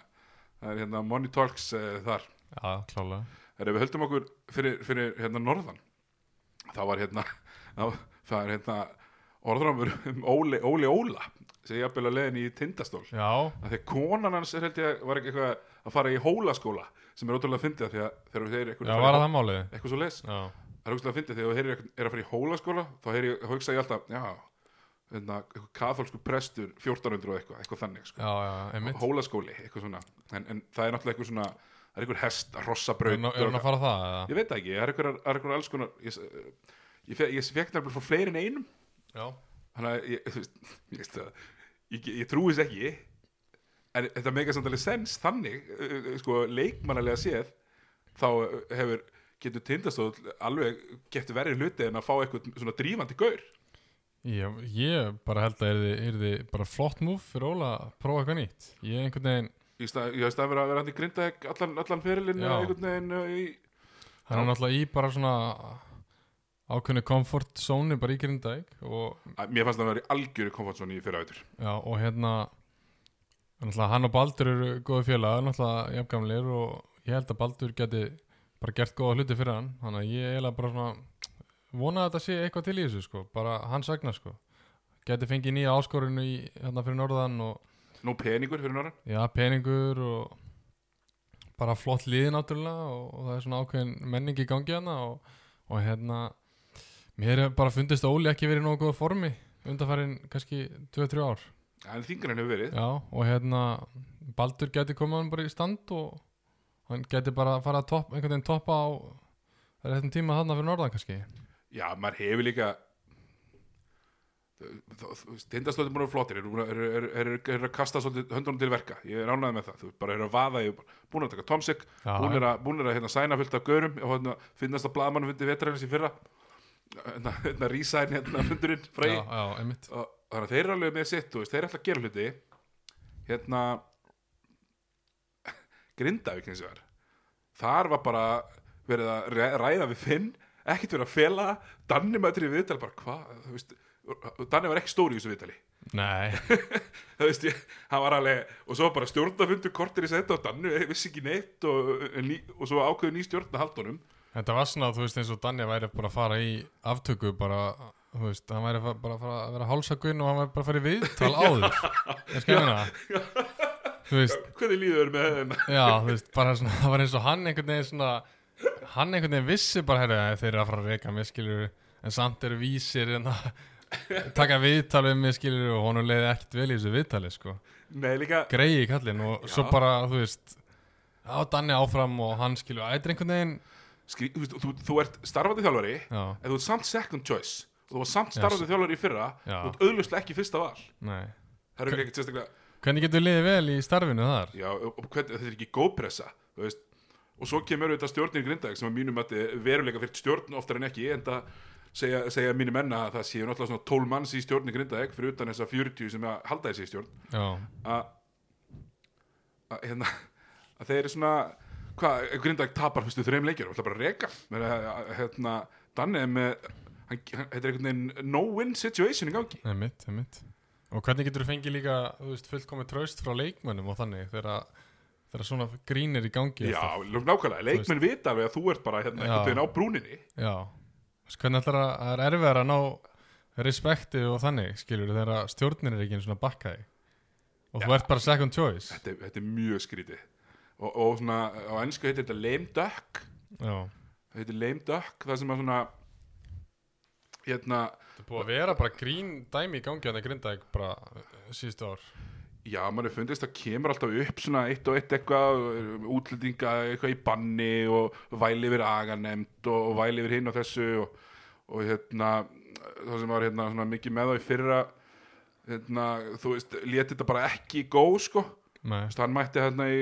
A: það er hérna Money Talks uh, þar
B: Já, klálega.
A: Þegar við höldum okkur fyrir, fyrir hérna norðan þá var hérna þá, það er hérna orðramur um Óli, Óli Óla sem ég jafnvel að leiðin í tindastól
B: Já,
A: að því að konan hans er held ég var ekki eitthvað að fara í hólaskóla sem er ótrúlega fyndið af því að þegar þú heyrir eitthvað
B: já, var það málið?
A: eitthvað svo les
B: Já,
A: það er ótrúlega fyndið þegar þú heyrir eitthvað er að fara í hólaskóla þá heyrir ég, hugsa ég alltaf já, hérna, eitthvað katholsku prestur 1400 og eitthvað, eitthvað þannig sko.
B: já, já, einmitt.
A: hólaskóli, eitthvað svona en, en það er náttúrulega eitthvað svona það er eitthvað hest,
B: Er
A: rossabraut
B: hann er hann að fara á það eða?
A: Ég veit það ekki, það er einhverjar- það er einhverjar alls konar Ég, s- eh, ég, fe- ég fekk nefnilega frá fleiri en einum
B: Já,
A: Þannig að ég, þú veist, ég, veist það, ég, ég trúi þess ekki En þetta meika samt alveg sens þannig eh, eh, Sko, leikmannalega séð Þá eh, hefur, getur tindastóð Alveg getur verið hluti en að fá eitthvað svona drífandi gaur
B: ég, ég bara held að yrði, yrði bara flott múf fyrir Óla að prófa eitthvað nýtt. Ég einhvern veginn,
A: Í stað, ég veist að vera að vera hann í grindæk Allan, allan fyrirlinn
B: Já.
A: einhvern veginn eh, í,
B: Hann er náttúrulega í bara svona ákveðnu comfort zone bara í Grindavík og,
A: að, Mér fannst það að vera í algjöru komfortzóni í fyrra veitur
B: já, og hérna En náttúrulega hann og Baldur eru góði félagar, náttúrulega jafngamlir og ég held að Baldur geti bara gert góða hluti fyrir hann. Þannig að ég eiginlega bara svona vona að þetta sé eitthvað til í þessu sko, bara hans vegna sko. Geti fengið nýja áskorinu í, hérna fyrir norðan og
A: Nú peningur fyrir norðan
B: já, peningur og bara flott liði náttúrulega og, og það er svona ákveðin menning í gangi hérna og, og hérna, mér hefur bara fundist að Óli ekki verið í nógu góða formi undanfærin kannski 2-3 ár.
A: En þingur hann hefur verið
B: Já, og hérna Baldur geti komið hann bara í stand og hann geti bara að fara að topp, einhvern veginn toppa á réttum tíma þarna fyrir norðan kannski
A: Já, maður hefur líka Tindastóttir búin að vera flottir eru er, er, er, er, er að kasta svolítið höndunum til verka ég er ánægð með það, þú veist, bara eru að vaða ég er búin að taka Tomsik,
B: Já,
A: búin er að, búin er að hérna, sæna fullt af görum og hérna, finnast að blaðmann fundi vetrarins í fyrra hérna, hérna rísaðin hérna fundurinn fræ
B: Já, já, einmitt
A: og þannig að þeir eru alveg með sitt þú veist, þeir eru alltaf að gera hluti hérna Grindavík hins vegar þar var bara verið að ræ- ræða við Finn ekkert verið að fela Danni mættur í viðtali bara hvað, þú veist Danni var ekki stóri í þessu viðtali
B: Nei,
A: þú veist, ég, hann var alveg og svo bara stjórnafundur kortir í setta og Danni vissi ekki neitt og, en ný, og svo ákveðu ný stjórn að halda honum
B: þetta var svona, þú veist, eins og Danni væri bara að fara í aftöku bara, þú veist, hann væri fa- bara að fara að vera hálsakuinn og hann væri bara að fara í viðtal áður Ég skal meina það Þú veist,
A: hvernig líður þér með þeim
B: já, þú veist, bara svona, það var eins og hann einhvern veginn svona hann einhvern veginn vissi bara, herri, þeir eru að fara að reyka mig, skilur en samt eru vísir en að taka viðtal um mig, skilur og honum leiði ekkert vel í þessu viðtali, sko
A: nei líka,
B: greiði í kallinn og svo
A: Já.
B: bara, þú veist á Danni áfram og hann, skilur æ, þetta er einhvern veginn,
A: skrí, þú, veist, þú, þú ert starfandi þjálfari
B: já,
A: en þú ert samt second choice og þú var samt starfandi þjálfari í fyrra
B: Já.
A: þú ert auðlustlega ekki fyrsta val
B: nei
A: það eru ekki sérstaklega
B: hvernig getur liðið vel í starfinu þar?
A: já, og og hvernig, þetta er ekki gópressa þú veist. og svo kemur auðvitað stjórnir grindag sem að mínum að veruleika fyrir stjórn oftar en ekki en það segja, segja mínu menna að það séu náttúrulega svona 12 manns í stjórnir grindag fyrir utan þessa 40 sem að halda þessi í stjórn
B: Já,
A: að að, hérna, að þeir eru svona hvað, Grindag tapar fyrstu þreim leikjur og ætla bara að reka Men, að, að, hérna, Danni er með hann, hann, þetta er einhvern veginn no-win situation í gangi
B: einmitt, einmitt og hvernig getur þú fengið líka, þú veist, fullkomið traust frá leikmönnum og þannig þegar þegar svona grínir í gangi
A: já, nákvæmlega, leikmenn vita alveg að þú ert bara hérna,
B: Já.
A: einhvern veginn á brúninni
B: Já, Þess, hvernig ætlar að, það er erfiðar að ná respekti og þannig, skilur, þegar að stjórnin er ekki einu svona bakkaði og þú ert bara second choice
A: þetta, er- þetta er mjög skrítið og, og svona, á ennsku heitir þetta lame duck
B: Já,
A: það heitir lame duck, það sem að svona hérna
B: það er búið að vera bara grín dæmi í gangi hann að grinda ekki bara eh, síðustu ár
A: Já, mann er fundist að kemur alltaf upp svona eitt og eitt eitthvað, útlendinga eitthvað í banni og væli yfir aganemnd og, og væli yfir hinn og þessu og, og hérna, það sem var hérna svona mikið með þá í fyrra, hérna, þú veist, lét þetta bara ekki í gó, sko.
B: Nei,
A: Þú veist, hann mætti hérna í,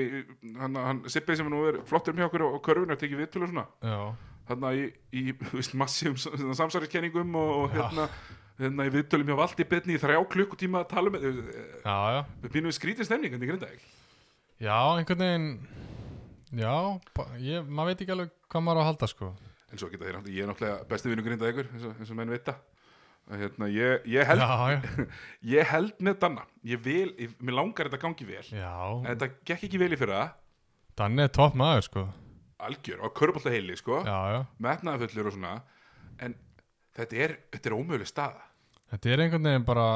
A: hann, hann Sippið sem nú er flottur um hjá okkur og körfinu að tekið viðtölu og svona,
B: já,
A: hérna í, í þú veist, massíum sam- samsæriskenningum og, og hérna, hérna í viðtölum hjá Valdi Betni í þrjá klukkutíma að tala um, með,
B: já, já
A: við býnum við skrítið stemning, en
B: hérna
A: ég grinda ekki.
B: Já, einhvern veginn Já, ba- ég, maður veit ekki alveg hvað maður á að halda sko
A: En svo geta þeir náttúrulega, ég er náttúrulega besti vinnu grindað ykkur, eins og, eins og menn vita. Að Hérna, ég, ég, held,
B: Já, já,
A: ég held með Danna, ég vil, ég, mér langar þetta gangi vel. En
B: já
A: þetta gekk ekki vel í fyrra,
B: Danni er topp maður sko
A: algjör, og körbólta heili, sko,
B: Já, já,
A: metnaðafullur og svona. En þetta er, þetta er ómöguleg staða.
B: Þetta er einhvern veginn bara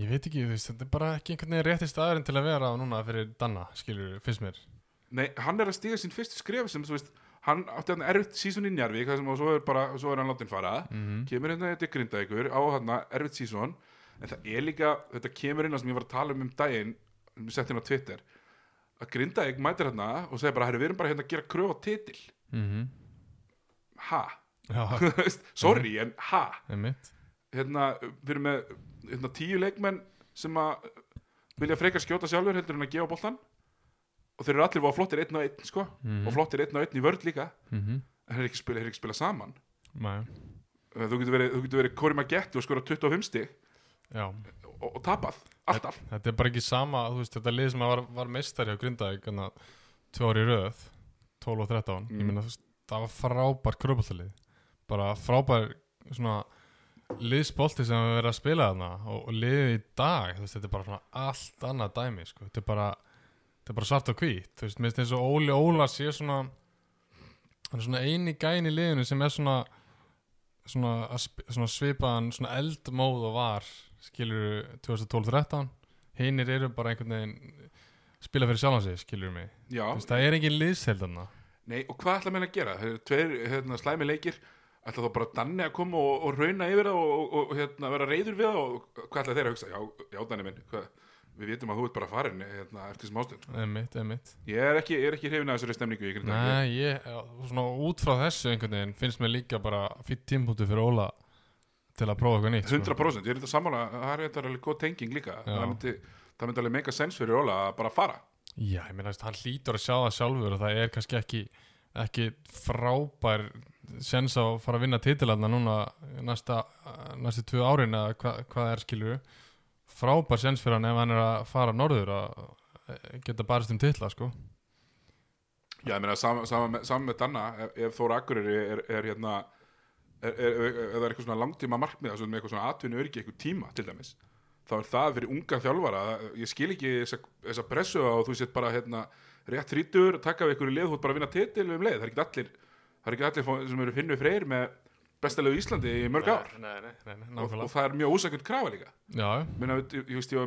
B: Ég veit ekki, þú veist, þetta er bara ekki einhvern veginn rétti staðurinn til að vera á núna fyrir Danna, skilur finnst mér
A: Nei, hann er að stíga sín fyrstu skref sem, þú veist, hann átti hann erfitt sísón í Njarvík, það sem og svo er bara, svo er hann látin fara. Kemur hérna þetta grindað ykkur á hann erfitt sísón. En það er líka, þetta kemur inn á sem ég var að tala um um daginn, sem ég sett hérna á Twitter, að Grindavík mætir hérna og segir bara, herru, við erum bara hérna að gera kröf á titil
B: mm -hmm.
A: ha,
B: Já,
A: Þú veist, sorry, en ha
B: einmitt
A: hérna, við erum með hérna, tíu leikmenn sem að vilja frekar skjóta sjálfur heldur en að gefa boltan og þeir eru allir voða flottir einn og einn sko,
B: Mhm.
A: og flottir einn og einn í vörð líka
B: mm -hmm.
A: en þeir eru ekki að spila, þeir eru ekki að spila saman Eh,
B: Mæ,
A: þú getur verið, þú getur verið Kori Magetti og skora 25 stig
B: Já,
A: og, og tapað, alltaf
B: þetta er bara ekki sama, þú veist, þetta lið sem var, var meistari á Grindavík hérna, tvö ári röð 12 og 13, ég
A: Mm.
B: meina þú veist, það var frábær kröpallalið bara frábær svona liðsbolti sem við verið að spila þarna og, og liðið í dag, þú veist, þetta er bara svona allt annað dæmi, sko, þetta er bara þetta er bara svart og hvít, þú veist, minnst eins og Óli Óla sé svona hann er svona eini gæin í liðinu sem er svona svona, að sp- svona svipaðan svona eldmóð og var skilur 2012-13 hinnir eru bara einhvern veginn spila fyrir sjálfan sig, skilur mig
A: Já,
B: Þú veist, það er engin liðsheldana
A: nei, og hvað ætla mér að gera? Þeir eru tveir hérna, slæmi leikir, ætla þá bara Danni að koma og, og rauna yfir það og, og, og hérna, vera reyður við það og hvað ætla þeir að hugsa? Já, já Danni minn, hvað, við vitum að þú ert bara farin hérna, eftir sem ástund.
B: einmitt, einmitt
A: Ég er ekki, ég er ekki hrifin að þessari stemningu í grinda.
B: Nei, ég, eh, svona út frá þessu einhvern veginn finnst mér líka bara fýtt tímpúti fyrir Óla til að prófa eitthvað nýtt sko.
A: 100%, ég er þetta sammála, það er þetta alveg góð tenging líka,
B: Já.
A: það myndi, það myndi alveg mega sens fyrir Óla að bara fara.
B: Já, ég meina, veist, hann hlýtur að sjá það sjálfur og það er kannski ekki, ekki frábær sens að fara að vinna titilarna núna næsta, næstu tvö árin eða hva, hvað er skilur frábær sens fyrir hann ef hann er að fara norður að eh, geta barist um titla sko.
A: Já, ég meina, saman sama, með- sama með Danna, ef, ef Þóra Akureyri er, er hérna, er, er, er, ef það er eitthvað svona langtíma markmið, svona með eitthvað svona atvinni öryggi, eitthvað tíma til dæmis, þá er það fyrir unga þjálfara, ég skil ekki þessa, þessa pressu á, þú sétt bara hérna, rétt þrítur, taka við einhverju lið, þú ert bara að vinna titil um leið, það er ekki allir, það er ekki allir fá- sem eru finnu freyr með besta lið í Íslandi í mörg ár
B: Nei, nei, nei, nei,
A: og,
B: nákvæmlega
A: og það er mjög ósækjöld krafa líka.
B: Já,
A: Meina, ég, ég, ég veist, ég,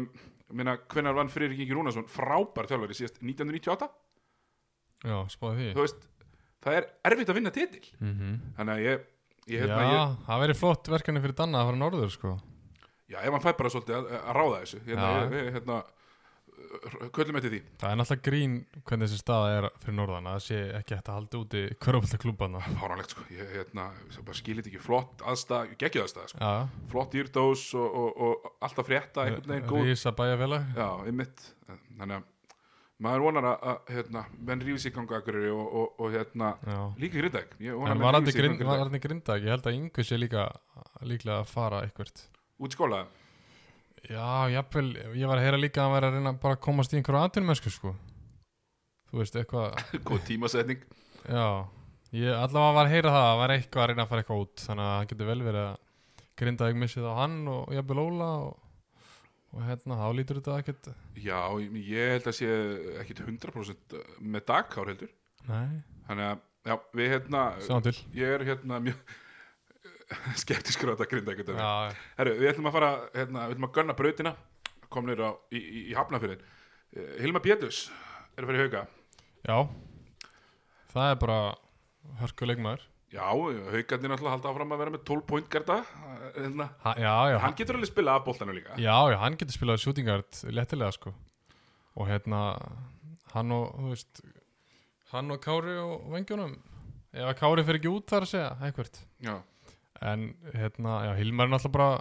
A: ég meina, hvenær vann Friðrik Ingi Rúnarsson frábær þjálfari síðast 1998?
B: já, spáði því
A: Þú veist, það er erfitt að vinna titil. Þannig að ég, ég, hérna,
B: Já,
A: ég,
B: það verið flott verkefni fyrir Danna að fara norður sko.
A: já, ef hann fær bara svolítið að, að ráða þessu, hérna,
B: Já.
A: ég, ég, hérna, uh, köllum eftir því.
B: Það er náttúrulega grín hvernig þessi staða er fyrir norðan að það sé ekki hægt að halda úti körfaldaklúbana
A: Fáránlegt, sko, ég, hérna, ég bara skilit ekki flott aðstæð, geggjöð aðstæð, sko.
B: Já,
A: Flott írdós og, og, og alltaf frétta, einhvern veginn góð.
B: eh, Rísa bæjarfélag
A: Já, einmitt. Þannig að maður vonar að, að hérna, menn rífi sig í ganga akkurir og, og, og, hérna,
B: Já.
A: líka grindæk.
B: En varandi grind, var grindag, ég held að yngu sé líka líklega að fara eitthvert
A: Út í skóla?
B: Já, jafnvel, ég var að heyra líka að hann væri að reyna bara að komast í einhverju atvinnumennsku sko. Þú veist, eitthvað
A: Góð tímasetning
B: Já, ég allavega var að heyra það að var eitthvað að reyna að fara eitthvað út þannig að það getur vel verið að grinda ekki missið á hann og jafnvel Óla og, og hérna, þá lítur þetta ekkert
A: Já, ég held að sé ekkit 100% með dagkár heldur
B: Nei,
A: Þannig að, já, við hérna
B: sjá til
A: Ég er hérna mjög skeptiskur á þetta grinda ekkert
B: Já,
A: Herru, við ætlum að fara, hérna, við ætlum að gönna brautina komnir á, í, í, í Hafnafjörðin Eh, Hilma Péturs er að fara í hauka
B: já Það er bara hörkuleikmaður
A: Já, haukarnir náttúrulega halda áfram að vera með 12 point gerða hérna.
B: ha, Já, já,
A: Hann getur alveg spila af boltanum líka
B: já, já, hann getur spilað shootingard lettilega sko og hérna, hann og, þú veist hann og Kári og vengjónum ef að Kári fer ekki út þar að segja, eitthvert
A: Já,
B: En hérna, já, Hilmar er náttúrulega bara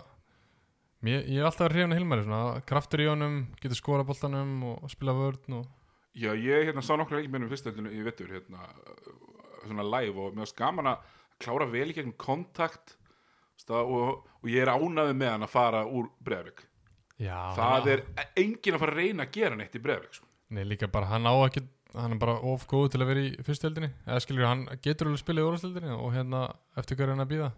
B: mér, Ég hef alltaf verið hrifin að Hilmar svona, Kraftur í honum, getur skora boltanum og spila vörn og
A: Já, ég hérna sá nokkra leikir með um fyrstöldinu í vettur hérna, uh, svona live og mér var skaman að klára vel í gegnum kontakt stað, og, og ég er ánaði með hann að fara úr Breiðavík.
B: Já,
A: Það er enginn að fara að reyna að gera neitt í Breiðavík. Sko.
B: Nei, líka bara hann á ekki Hann er bara of góð til að vera í fyrstildinni Eða skilur, hann getur alveg spilað í orðstildinni Og hérna, eftir hverju hann að býða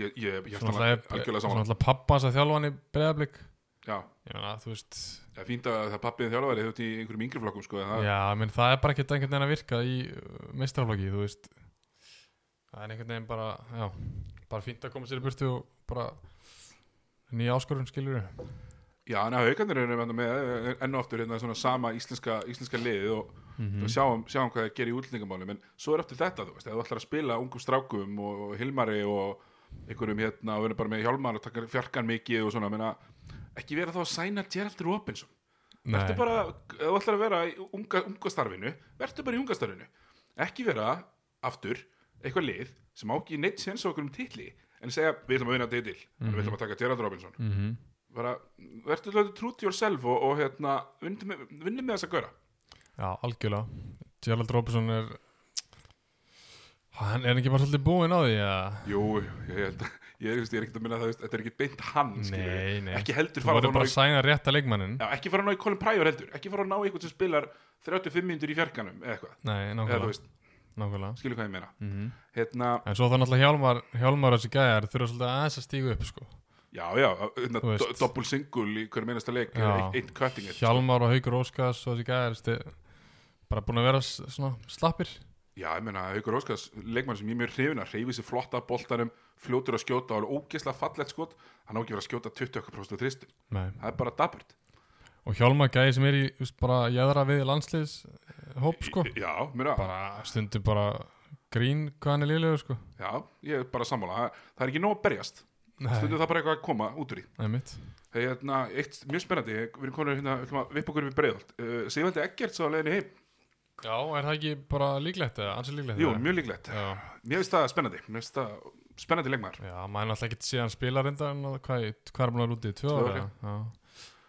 A: Ég, ég, ég held
B: Svona
A: hann
B: alltaf,
A: algjörlega
B: svona
A: saman.
B: alltaf pappa hans að þjálfa hann í breðablík
A: Já,
B: Ég meina, þú veist
A: það er fínt að það pappiðin þjálfari hefur í einhverjum yngri flokkum. Sko, en það,
B: Já, menn það er bara ekkert einhvern veginn að virka í meistraflokki, þú veist Það er einhvern veginn bara, já bara fínt að koma sér í burtu og bara nýja áskorun skilur
A: Já, en haugarnir eru hérna með enn og aftur hérna svona sama íslenska, íslenska liðið og,
B: Mhm.
A: og sjáum, sjáum hvað það gerir í útlendingamálum en svo er eftir þetta, þú veist, ef þú ætlar að spila ungum strákum og, og Hilmari og einhverjum hérna og verður bara með hjálmar og takkar fjarkan mikið og svona, menna ekki vera þá að sæna Gerald Robinson Vertu bara, ef þú ætlar að vera í unga, unga starfinu, vertu bara í unga starfinu ekki vera aftur eitthvað lið sem á ekki neitt séns á okkur um titli en segja, við ætlum að vinna titil mm
B: Mhm.
A: við ætlum að taka Gerald Robinson
B: mm -hmm.
A: bara, verður þetta true to yourself og, og hérna, vinnum með, vinnum með þess að göra
B: Já, algjörlega Gerald Robinson er hann er ekki bara svolítið búinn á því að
A: Jú, ég held að, ég, ég, ég er ekkert að minna það, þú veist, þetta er ekkert beint hann, skilur við.
B: Nei, nei
A: ekki heldur
B: Þú
A: fara
B: voru
A: að ná
B: bara
A: í,
B: að sæna rétta leikmannin
A: já, ekki fara að ná í Colin Pryor heldur, ekki fara að ná í eitthvað sem spilar 35 minnur í fjarkanum, eða eitthvað,
B: Nei,
A: eða þú
B: nákvæmlega
A: veist,
B: nákvæmlega
A: skilu hvað ég meina
C: mm
B: Mhm.
C: -hmm.
A: hérna,
B: En svo það náttúrulega hjálmar, hjálmar þessi gæjar þurfa svolítið aðeins að stíga upp sko.
A: já, já, hérna,
B: Þú veist.
A: do- double single í hverjum einasta leik
B: Já.
A: er eitt cutting sko. it
B: Hjálmar og Haugur Óskars og þessi gæjar sti- bara búin að vera s- svona slappir
A: já, ég meina, Haukur Óskars, leikmann sem ég er mjög hrifin að hreyfi sér flotta af boltanum fljótur að skjóta og alveg ógeðslega fallegt skot hann á ekki verið að skjóta 20% þristum
B: Nei.
A: það er bara dabbert
B: og Hjálmar gæði sem er í þú veist, bara jæðra við landsliðs eh, hóp sko
A: já, mér að,
B: bara stundum bara grín hvað hann er liðlegur sko
A: já, ég er bara sammála það, það er ekki nóg að berjast stundum
B: Nei,
A: það bara eitthvað að koma út úr í
B: einmitt
A: Hey, hérna, eitt mjög spennandi, við erum konur hérna, við ætlum að vippa okkur við breiðalt. Uh, Sigvaldi Eggert sá að leiðinni heim,
B: Já, er það ekki bara líklegt eða ansið líklegt?
A: jú,
B: eða?
A: mjög líklegt.
B: Já,
A: Mér finnst það spennandi, mér finnst það spennandi leikmaður.
B: já maður er alltaf ekki síðan spilarindar en hvað, hvað er hann að rútið? Tvö
A: Tvö ár,
B: ára? Já,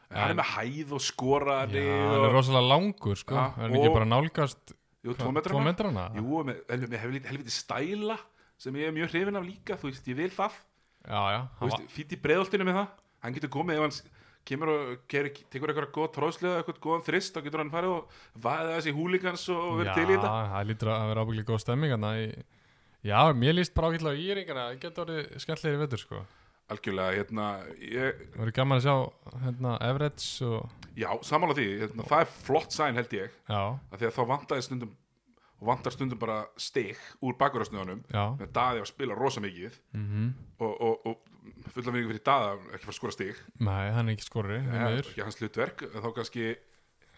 A: Hann er með hæð og skorari
B: já hann er
A: og,
B: rosalega langur sko,
A: Já,
B: er hann ekki
A: og-
B: bara nálgast
A: jú, tvo
B: tvo
A: metrana.
B: metrana?
A: Jú, og með, helvi- með helviti, helviti stæla sem ég er mjög hrifin af líka, þú veist, ég vil það.
B: Já, já,
A: Þú
B: hann var,
A: veist, fýtt í breiðaltinu með það, hann getur komið ef hann s- kemur og gerir, tekur eitthvað góð tróðslega, eitthvað góðan þrist, þá getur hann farið og vaðið þessi húligans og verið til í
B: já,
A: þetta.
B: það lítur að vera ábygglega góð stemming hann í... Já, mér líst bara ágætlega í yringana, það getur orðið skemmtlegir í vetur sko
A: Algjörlega, hérna, ég,
B: Það verður gaman að sjá hérna Everets og,
A: Já, samanlega því, hérna, það er flott sæn held ég,
B: já,
A: af því að þá vantaði stundum og vantar stundum bara stig úr bakurasnöðunum,
B: já
A: með Daði að spila rosa mikið
B: mm
A: og, og, og fulla vinningu fyrir Daða ekki fara að skora stig,
B: Nei, hann er ekki skorri,
A: Það
B: því
A: er
B: miður
A: ekki hans hlutverk en þá kannski,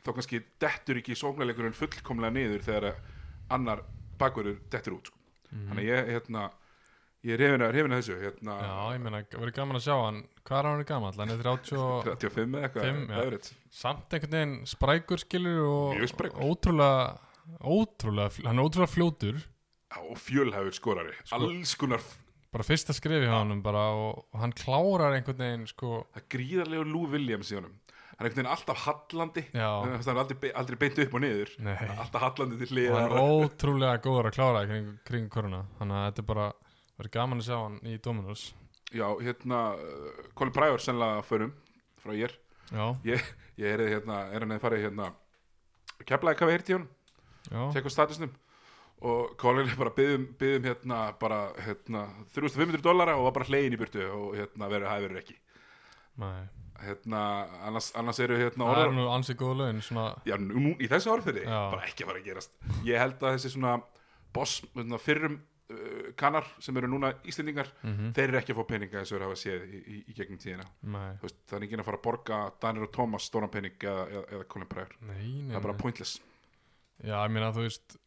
A: þá kannski dettur ekki sóknarleikurinn fullkomlega niður þegar að annar bakurur dettur út, sko.
B: Mhm.
A: þannig að ég hérna, ég er hefina, hefina þessu hérna,
B: Já, ég meina, verður gaman að sjá hann Hvað er hann gammal? Hann er 30 og
A: 35 eða eitthvað,
B: Fimm, já.
A: Everett.
B: samt einhvern veginn sprækur skilur
A: Mjög
B: og
A: sprækur.
B: ótrúlega, ótrúlega, fl- hann er ótrúlega fljótur
A: Já, og fjölhæfur skorari,
B: Sko-
A: alls konar
B: bara fyrsta skrifi hjá honum bara og hann klárar einhvern veginn sko,
A: það er gríðarlega Lou Williams í honum hann er einhvern veginn alltaf hallandi
B: Já.
A: þannig að hann er aldrei, be- aldrei beint upp og niður
B: Nei.
A: alltaf hallandi til
B: og hann
A: hliðar
B: er ótrúlega góður að klára í kring, kring koruna, þannig að þetta er bara verður gaman að sjá hann í Dominos
A: já, hérna, uh, Colin Pryor sennilega förum frá ég
B: Já,
A: ég, ég er, hérna, er hann eða farið hérna keflaði hvað við heyrti í honum
B: já,
A: tjekka á statusnum og Colin er bara byggðum, byggðum hérna bara hérna 3500 dollara og var bara hlegin í burtu og hérna verið hæði verið ekki
B: nei
A: hérna, annars, annars eru hérna
B: Það er
A: orðar-
B: nú ansið góð laun, svona
A: já, nú, í þessu árferði
B: Já.
A: bara ekki að fara að gerast ég held að þessi svona boss, svona fyrrum uh, kannar sem eru núna Íslendingar
B: Mm. Mhm.
A: þeir eru ekki að fá peninga eins og eru að hafa séð í, í, í gegnum tíðina
B: Nei,
A: Þú veist, það er enginn að fara að borga Daniel og Thomas stóran pening eða, eða, eða Colin Breyer
B: nei, nei,
A: það er bara
B: nei.
A: pointless
B: Já, ég meina þú veist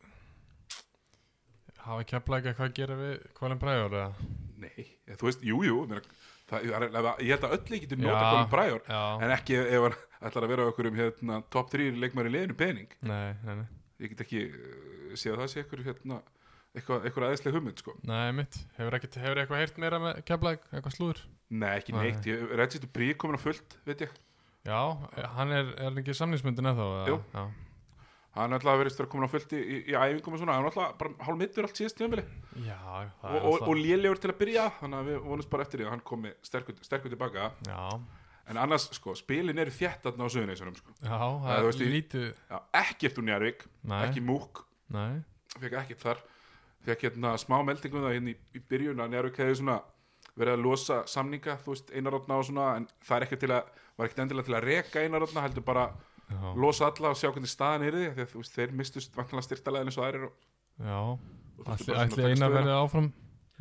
B: hafa kepla ekki að hvað gera við Colin Breyer eða
A: nei, eða, þú veist, jú, jú ég meina, það, það er, ég held að öll ekki getur nota
B: Já,
A: Colin Breyer
B: Já,
A: en ekki ef hann ætlar að vera okkur um hérna, top 3 leikmæri liðinu pening
B: nei, nei, nei
A: ég get ekki uh, séð að það sé eitthvað, hérna, eitthvað, eitthvað aðeinslega hugmynd sko.
B: Nei, mitt. Hefur, ekkit, hefur eitthvað heyrt meira með Keflæk, eitthvað slúður?
A: Nei, ekki
B: Nei.
A: neitt, ég, Reggie Dupree er komin á fullt, veit ég
B: Já, eh, hann er, er hann ekki samlingsmyndin eða þá?
A: Jú.
B: Já,
A: Hann er alltaf að verið stöður komin á fullt í, í, í æfingum og svona, hann er alltaf bara hálf mittur allt síðast tíðanbili og,
B: já það er
A: og, og lélegur til að byrja, þannig að við vonumst bara eftir því að hann komi sterkur, sterkur tilbaka
B: Já,
A: en annars, sko, spilin eru þjætt þarna á söðuneysunum, sko
B: já, það
A: Nei, þú veist,
B: er
A: í-
B: lítið
A: Já, ekkert úr Njarvík,
B: Nei,
A: ekki múk
B: nei,
A: fekk ekkert þar, fekk hérna smá meldingum það hérna í, í byrjun að Njarvík hefði svona verið að losa samninga, þú veist, einarotna og svona en það er ekkert til að, var ekkert endilega til að reka einarotna, heldur bara
B: já,
A: losa alla og sjá hvernig staðan er því af því að þú veist, þeir mistust vantanlega styrtalegin eins og þær eru og,
B: já
A: og þurftu
B: Ætli,
A: bara svona að
B: ætli
A: taka
B: eina
A: stöðuna.
B: verið áfram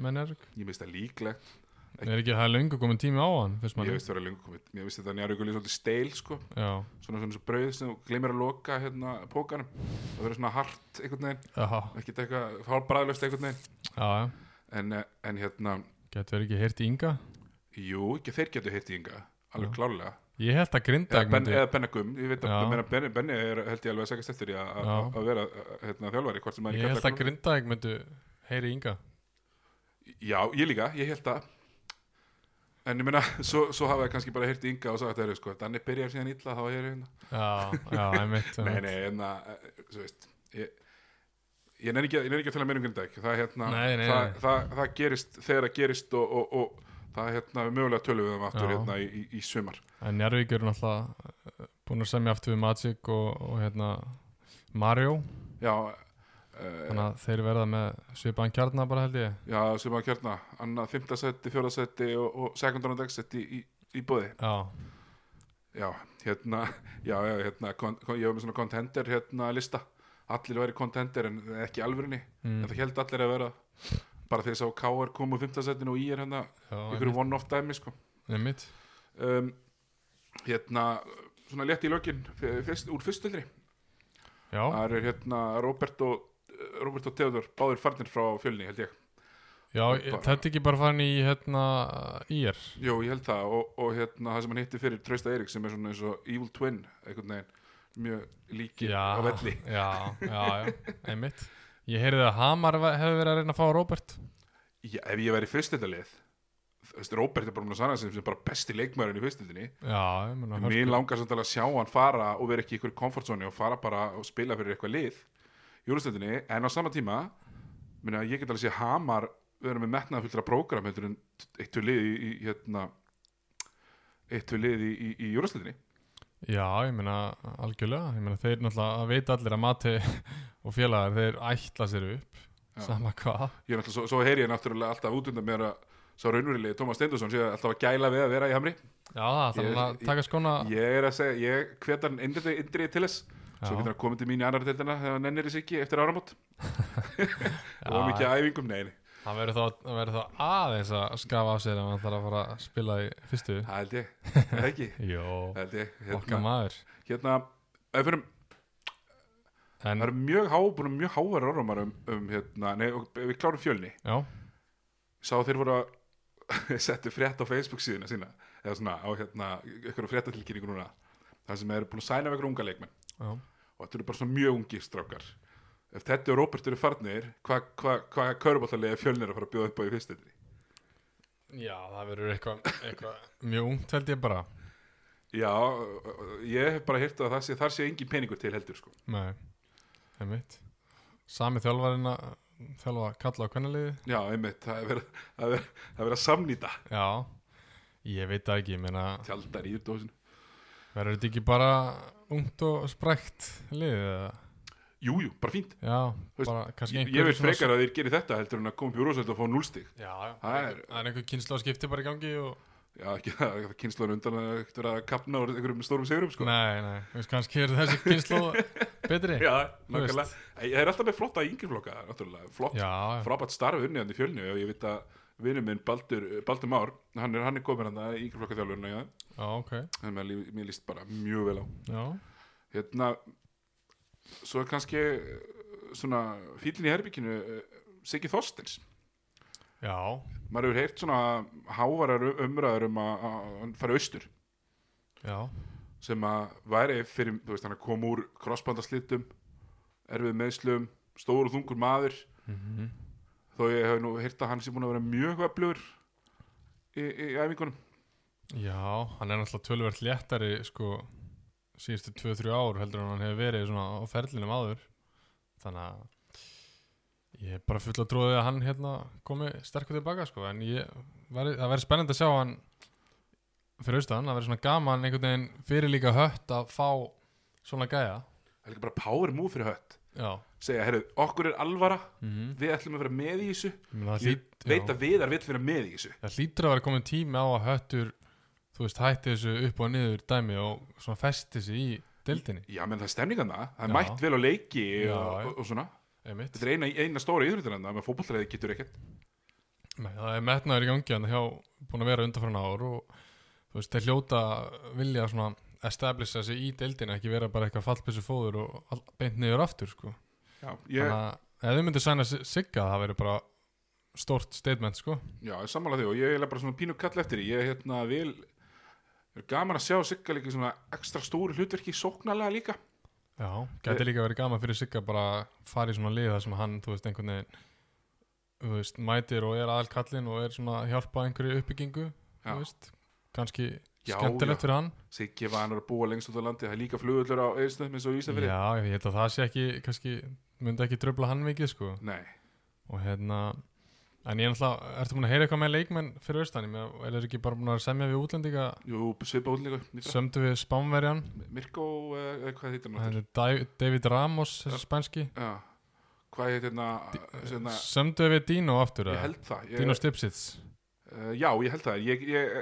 B: með Njárvík?
A: ég minnst það líklegt,
B: Er ekki það er löngu komin tími á hann, finnst
A: ég
B: manni?
A: veist það vera lengur komið ég veist þetta njárvíkur líka svolítið steil sko
B: Já,
A: svona svona svo brauð sem þú gleymir að loka hérna pókanum, það verður svona hart einhvern veginn,
B: já,
A: ekki eitthvað hálfbræðlöst einhvern veginn,
B: já, já.
A: en, eh, en hérna
B: Getur verið ekki heyrt í Inga?
A: jú, ekki þeir getur heitt í ynga alveg klárlega,
B: Ég held að Grindag
A: eða, ben, eða Bennagum ég veit
B: Já.
A: að meina Benni, Benni er held ég alveg að segja stættir í að- að
B: Já.
A: að vera eh, hérna, þjálfari, hvort sem maður
B: Ég held að Grindag myndi heyri í Inga.
A: Já, ég líka, ég held það En ég meina, svo, svo hafa ég kannski bara heyrt Inga og sagt að það eru sko Danni byrjar síðan illa, þá er ég hérna
B: Já, já, einmitt,
A: Nei,
B: einmitt.
A: nei, hérna, eh, svo veist Ég, ég nenni ekki, að- ég nenni ekki að tala meira um Grindavík Það, hérna,
B: Nei, nei,
A: það,
B: nei.
A: það, það gerist þegar það gerist og, og, og það, hérna, við mögulega tölum við um aftur
B: Já.
A: hérna í, í, í sumar
B: En Njárvík eru eh, náttúrulega búin að semja aftur við Magic og, og hérna Mario
A: Já, uh,
B: Þannig að þeir verða með svipaðan kjarnar bara held ég
A: Já, sem að kjarna Annað fimmtasetti, fjórasetti og, og second round exit í, í, í bóði
B: Já,
A: Já, hérna, já, já, hérna kon, kon, Ég var með svona contender hérna lista Allir væri contender en ekki í alvörinni
B: Mm,
A: En það held allir að vera Bara þegar ég sá KR komu fimmtasettinu og í er hérna
B: já,
A: Ykkur one-off dæmi, sko
B: einmitt
A: um, Hérna, svona létt í lögin fyrst, Úr fyrstöldri
B: Já,
A: Það er hérna Robert og Robert og Theodor, báðir farnir frá fjölni held ég.
B: já ég- þetta er ekki bara farin í hérna ír
A: Jó, ég held það og, og hérna það sem hann hitti fyrir Trausta Eirík sem er svona eins og Evil Twin einhvern veginn, mjög líki á velli.
B: Já, já, já, einmitt Ég heyrði að Hamar ve- hefði verið að reyna að fá Robert
A: Já, ef ég væri fyrstöldalið þú veist, Robert er bara um að sanna sig sem bara besti leikmærin í fyrstöldinni.
B: Já, ég meina
A: Mér langar samt alveg að sjá hann fara og vera ekki í ykkur komfortzóni og fara bara og spila fyrir eitthvað lið í úrstöldinni en á sama tíma minna, ég get alveg sé Hamar vera með metnað fullra prógram heldur en eitt við lið í, í hérna eitt við lið í, í, í úrstöldinni
B: Já, ég meina algjörlega Ég meina þeir náttúrulega að veita allir að mati og félagar þeir ætla sér upp
A: Já.
B: Sama hvað
A: ég er náttúrulega, svo, svo heyri ég náttúrulega alltaf út undan mér að sá raunverilegi Tómas Steindursson sé alltaf að gæla við að vera í Hamri
B: Já, það
A: Ég-
B: þarf að
A: ég-
B: taka skona
A: ég er að segja, ég hvetar hann indrið indri til þess svo
B: Já.
A: getur hann komið til mín í annar deildina þegar hann nennir þess ekki eftir áramót og mikið að æfingum, nei, nei,
B: Hann verður þá, hann verður þá aðeins að skafa af sér ef hann þarf að fara að spila í fyrstu
A: það held ég Er það ekki
B: Jó,
A: Það held ég,
B: okkar
A: hérna,
B: maður
A: hérna ef við erum,
B: En,
A: það eru mjög há, búin að mjög hávar orðumar um, um hérna, nei, og ef við klárum fjölni
B: já,
A: sá þeir voru að settu frétt á Facebook síðuna sína eða svona á hérna, ykkur fréttatilkynningu núna það sem er búin að sæna við ykkur unga leikmenn
B: já,
A: og þetta eru bara svona mjög ungir strákar ef þetta og Róbert eru farnir hvað hva, hva köruballarlega fjölnir að fara að bjóða upp á í fyrstöldri
B: já það verður eitthvað eitthva. mjög ungt held ég bara
A: já, ég hef bara hýrt að það sé, þar sé engin peningur til heldur sko.
B: Nei, það er mitt Sami þjálfarinn að þjálfa kalla á kvennaliði
A: já, einmitt, það er verið það er verið- það er verið að samnýta
B: Já, ég veit það ekki, ég meina
A: tjaldar í útdóðsinu
B: verður þetta ekki bara ungt og sprækt liðið eða?
A: Jú, jú, bara fínt.
B: Já,
A: Þú veist,
B: bara kannski
A: Ég,
B: einhver
A: ég vil
B: svona-
A: frekar að þeir geri þetta heldur en að koma upp í úrúsælt og fá núlstig.
B: Já, já,
A: Það er-
B: það er, er einhver kynslu á skipti bara í gangi og
A: Já, ekki það, það kynnslóðan undan að ekkert vera að kapna úr einhverjum stórum sigurum, sko.
B: Nei, nei, þú veist kannski er þessi kynslu betri
A: Já,
B: Þú veist.
A: nákvæmlega. Æ, Það er alltaf með flotta yngjurflokka, náttúrulega. Flott,
B: Já, já.
A: frábært starf unnið hann í fjölni og ég veit að vinnum minn Baldur, Baldur Már, hann er, hann er komin hann í yngjurflokka þjálfurinn og já,
B: já, ok
A: þannig að mér lí- mér líst bara mjög vel á.
B: Já,
A: Hérna, svo er kannski eh, svona fílinn í herbygginu, Siggi Þorstins.
B: já,
A: Maður hefur heyrt svona hávarar umræður um að að hann fari austur.
B: já,
A: sem að væri fyrir, þú veist, hann kom úr krossbandaslitum, erfið meðslum, stór og þungur maður
B: Mhm.
A: þó ég hef nú heyrt að hann sé búin að vera mjög öflugur í, í, í æfingunum
B: já Hann er náttúrulega tölvöld léttari sko síðustu 2-3 ár heldur en hann hefur verið svona á ferlinum áður þannig að ég er bara full að tróði að hann hérna komi sterkur tilbaka sko en ég, veri, það verður spennandi að sjá hann fyrir austan, það verður svona gaman einhvern veginn fyrir líka hött að fá svona gæja
A: Það er líka bara power move fyrir hött
B: Já,
A: segja, herru, okkur er alvara
B: mm -hmm.
A: við ætlum að vera með í þessu ég
B: það, hlýt,
A: veit
B: já,
A: að viðar vill vera með í þessu
B: það hlýtur að vera komin tími á að höttur þú veist hætti þessu upp og niður dæmi og svona festi sig í deildinni
A: já, menn það er stemningan það, það er
B: Já.
A: mætt vel á leiki
B: Já,
A: og,
B: já.
A: og, og svona
B: einmitt
A: þetta er eina, eina stóra íþróttir en það með fótbolltræði getur ekkert
B: Nei, það er metnaður í gangi en það hjá búin að vera undanfæran ár og þú veist, þeir hljóta vilja svona establisha sig í deildinu, ekki vera bara eitthvað fallbissu fóður og all- beint niður aftur sko.
A: já, ég,
B: þannig að ef þau myndir sæna sig- sigga það verður bara stórt statement sko.
A: Já, ég sammála því og ég er bara svona pínu kall eftir því. Ég hérna vil er gaman að sjá Sigga líka í svona ekstra stóru hlutverki sóknarlega líka.
B: Já, gæti líka verið gaman fyrir sigga bara að fara í svona lið þar sem hann, þú veist, einhvern veginn þú veist, mætir og er aðal kallinn og er svona að hjálpa einhverju uppbyggingu
A: Já.
B: þú veist, kannski
A: Já,
B: skemmtilegt
A: já.
B: fyrir hann
A: Siggi var hann að búa lengst út á landi, það er líka flugullur á eðstöðum eins og Ísafrið.
B: Já, ég held að það sé ekki, kannski myndi ekki tröfla hann mikið, sko
A: Nei,
B: og hérna, en ég er náttúrulega ertu búin að heyra eitthvað með leikmenn fyrir austan ég meina, er þeir ekki bara búin að semja við útlendinga
A: jú, svipa út líka. Nýfra.
B: sömdu við Spánverjan,
A: Mirko, eh, eh, hvað heitir hann? aftur?
B: hann er Dai- David Ramos þessi spænski,
A: Já, hvað heit hérna, hérna
B: Sömdu við Dino aftur
A: ég
B: eða?
A: held það ég,
B: Dino Stipsits
A: uh, já, ég held það, ég, ég,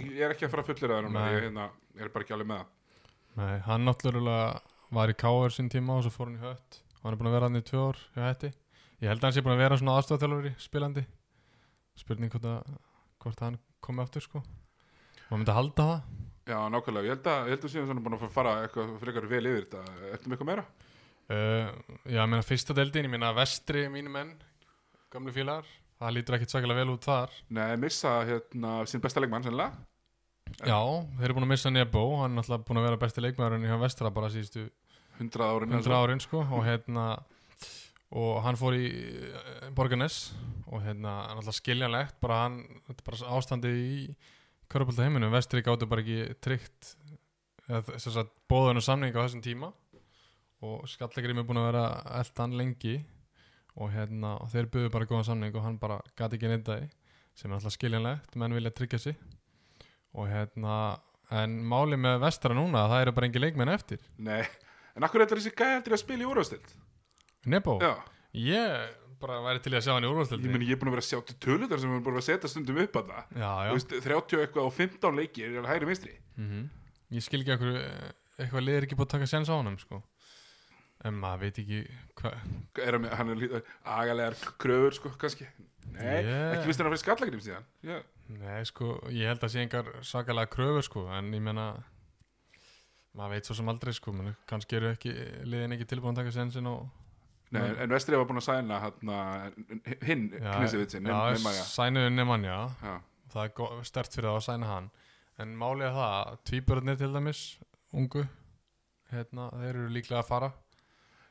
A: ég, ég er ekki að fara að fullir það núna,
B: Nei.
A: ég hérna, ég er bara ekki alveg með það
B: Nei, hann náttúrulega var í K.R. sinn tíma og svo fór hann í hött og hann er búin að vera hann í tvö ár hjá hætti Ég held að hann sé búin að vera svona aðstofþjálfari spilandi Spurning hvort, að, hvort hann komi aftur sko Maður myndi að halda það
A: já, nákvæmlega, ég held að, ég held að síðan svona búin að fara- fara eitthvað frekar vel yfir þetta, ertu með eitthvað meira?
B: uh, Já, ég meina fyrsta deildin, ég meina vestri mínu menn, gamlu félagar Það lítur ekkit sakalega vel út þar
A: Nei, missa hérna sín besta leikmann sennilega
B: Já, þeir eru búin að missa Nebo, hann er náttúrulega búin að vera besti leikmaðurinn hjá vestra bara síðustu
A: 100 árin
B: 100 árin sko og hérna og hann fór í eh, Borgarnes og hérna hann alltaf skiljanlegt bara hann, þetta er bara ástandi í Körbólta heiminum, vestri gáttu bara ekki tryggt eða þ- sem sagt bóðunum samning á þessum tíma og skallegrim er búin að vera eldan lengi og hérna og þeir buðu bara góðan samning og hann bara gati ekki neyndaði sem er alltaf skiljanlegt, menn vilja tryggja sig og hérna en máli með vestra núna, það eru bara engi leikmenn eftir
A: Nei, en akkur er þessi gæði eftir að spila í úrvastild?
B: Nebo,
A: Já,
B: Ég bara væri til í að sjá hann í
A: ég
B: úrvalstöldi
A: meni ég er búin að vera að sjá til tölutar sem er búin að vera að setja stundum upp að það
B: Já, já
A: veist, 30 eitthvað og 15 leikir er alveg hægri vinstri
B: Ég skil ekki okkur eitthvað lið er ekki búið að taka séns á honum sko. En maður veit ekki hvað
A: er hann, með- hann er lítið- agalegar kröfur sko, kannski Nei,
B: Yeah.
A: ekki vist hann að fyrir skallagrim síðan Já,
B: Nei, sko, ég held að sé engar sakalega kröfur sko, en ég meina maður veit svo sem aldrei sko, menn, kannski eru ekki liðin ekki tilbúin að taka sensin og
A: Nei,
B: Men-
A: en vestri var búin að sæna hérna, hinn knisevitsin
B: já, sænuðu nemann, já
A: Já.
B: það er gott- sterkt fyrir það að sæna hann en málið er það, að tvíburarnir til dæmis ungu hérna, þeir eru líklega að fara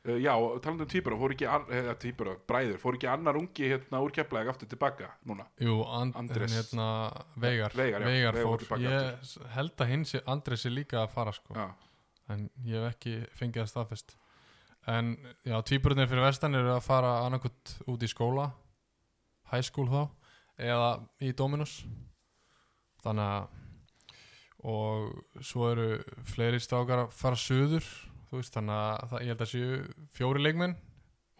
A: Uh, Já, talandi um týpura, fór ekki an- eh, týpura, bræður, fór ekki annar ungi hérna úr keflaðið aftur tilbaka núna
B: Jú, and,
A: Andrés.
B: Andres hérna, Veigar,
A: Veigar, já, Veigar
B: fór
A: tilbaka
B: Ég s- held að hinn sé Andres er líka að fara sko
A: Já,
B: en ég hef ekki fengið það staðfest en já, tvíburunir fyrir vestan eru að fara annarkot út í skóla high school þá eða í Dominus þannig að og svo eru fleiri strákar að fara söður þú veist, þannig að það, ég held að séu fjóri leikmenn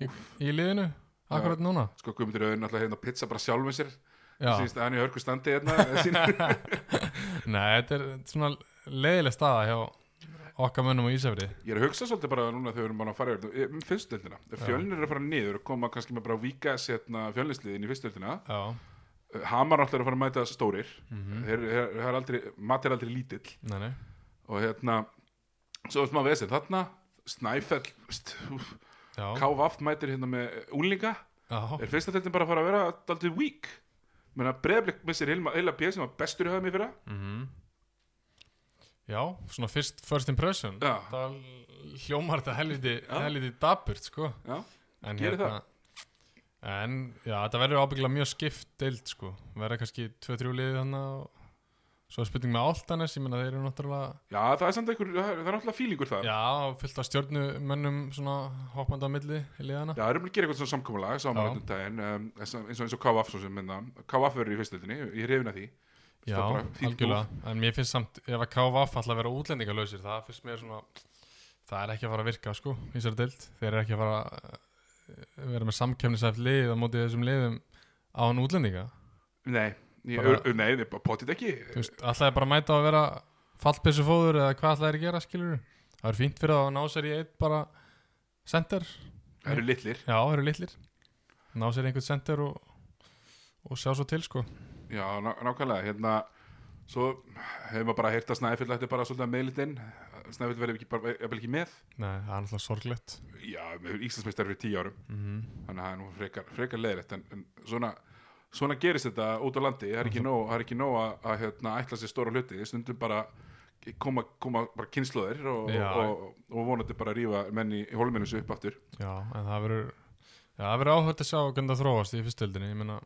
B: í, í liðinu akkurat núna
A: sko Guðmundur Öðun alltaf hérna pizza bara sjálfum sér
B: já.
A: síðust að hann í hörku standi hérna eh, sín-
B: Nei, þetta er svona leiðileg staða hjá okkar mönnum á Ísafri
A: Ég er að hugsa svolítið bara núna þegar við erum bara að fara yfir þetta, um fyrstöldina, fjölnir er að fara niður og koma kannski með bara víkas hérna fjölnisliðin í fyrstöldina
B: Já,
A: Hamar alltaf er að fara að mæta stórir
B: Mhm.
A: þeir, þeir, þeir er aldrei, mat er aldrei lítill
B: nei, nei
A: og hérna svo er smá vesinn þarna Snæfell, st- úff,
B: Já,
A: KVF mætir hérna með úlinga
B: já,
A: er fyrsta deltin bara að fara að vera daldið weak menna breyðblik missir heila, heila bjöð sem var bestur í höfum í fyrra
B: Mhm. já svona fyrst, first impression
A: Já.
B: Það hljómar þetta helviti, helviti dapurt, sko
A: já,
B: en hérna-
A: Gerir
B: En, já, þetta verður ábyggilega mjög skipt deild, sko Verða kannski 2-3 liðið þannig og Svo er spurning með Áltanes, ég meina þeir eru náttúrulega
A: já það er samt einhver, það er, það er alltaf fílingur það já,
B: Já, fullt af stjórnumönnum svona hoppandi á milli í liðana
A: það er um að gera eitthvað svona samkomulag
B: Já.
A: saman um daginn, um, eins og eins og KVF svo sem hérna. minna, KVF verður í fyrstöldinni ég er hefina því,
B: Já,
A: Það er bara fínt
B: algjörlega, en mér finnst samt ef að KVF ætla að vera útlendingalösir það finnst mér svona það er ekki að fara að virka sko, í þessari deild þeir eru ekki að fara að eh, vera með samkefnisæft lið á móti þessum liðum án útlendinga
A: nei ég,
B: Bara-
A: bara, nei, nei, potið ekki
B: þú veist, ætlaði bara að mæta að vera fallbissufóður eða hvað ætlaði að gera skilur það er fínt fyrir þá að ná sér í eitt bara center,
A: það eru litlir,
B: já, það eru litlir ná sér í einhvern center og, og sjá svo til sko
A: já, ná, nákvæmlega hérna, svo hefur maður bara heyrt að Snæfell ætti bara svolítið að meðlitt inn Snæfell verður ekki, bara, jafnvel ekki með
B: Nei, það er alltaf sorglegt
A: já, Íslandsmeistar fyrir tíu árum
B: mm -hmm.
A: þannig að það er nú frekar, frekar leiðrætt en, en svona, svona gerist þetta út á landi það er ekki nóg, það er ekki nóg að, að hérna, ætla sér stóra hluti, stundum bara koma, koma bara kynnslóðir og,
B: Já.
A: og, og, og vonandi bara rífa menn í holminu sér upp aftur
B: Já, en það verður Já, það verður áhört að sjá hvernig það þróast í fyrstöldinni Ég meina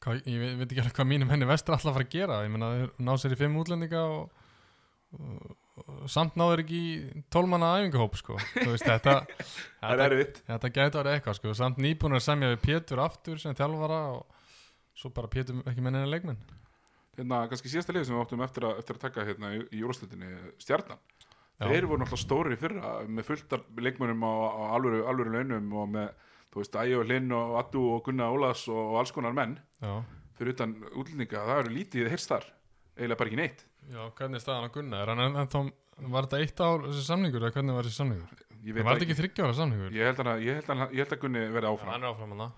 B: hvað, Ég veit, veit ekki alveg hvað mínum henni vestur alltaf að fara að gera Ég meina þeir ná sér í fimm útlendinga og, og, og samt náður ekki í tólmanna æfingahóp sko. Þú veist, þetta
A: það er
B: þetta,
A: erfitt
B: þetta gæti að vera eitthvað sko. Samt nýbúnar að semja við Pétur aftur sem þjálfara og svo bara Pétur ekki með neina leikmenn
A: hérna, kannski síðasta lið sem við áttum eftir að, eftir að taka hérna, í, í úrstundinni stjarnan
B: Já.
A: þeir voru náttúrulega stórir í fyrra með fullt af leikmönnum á, á alvöru, alvöru launum og með, þú veist, Ægjó Linn og Addu og Gunnar Ólas og, og alls konar menn
B: já.
A: fyrir utan útlendinga, það eru lítið heyrst þar, eiginlega bara ekki neitt
B: Já, hvernig er staðan á Gunna? Er hann enn- ennþá, var þetta eitt ár þessi samningur eða hvernig var þessi samningur?
A: ég,
B: Var þetta ekki þryggjára samningur?
A: ég held hann að, ég held hann, ég held að Gunni verði
B: Já,
A: áfram
B: hann er áfram hann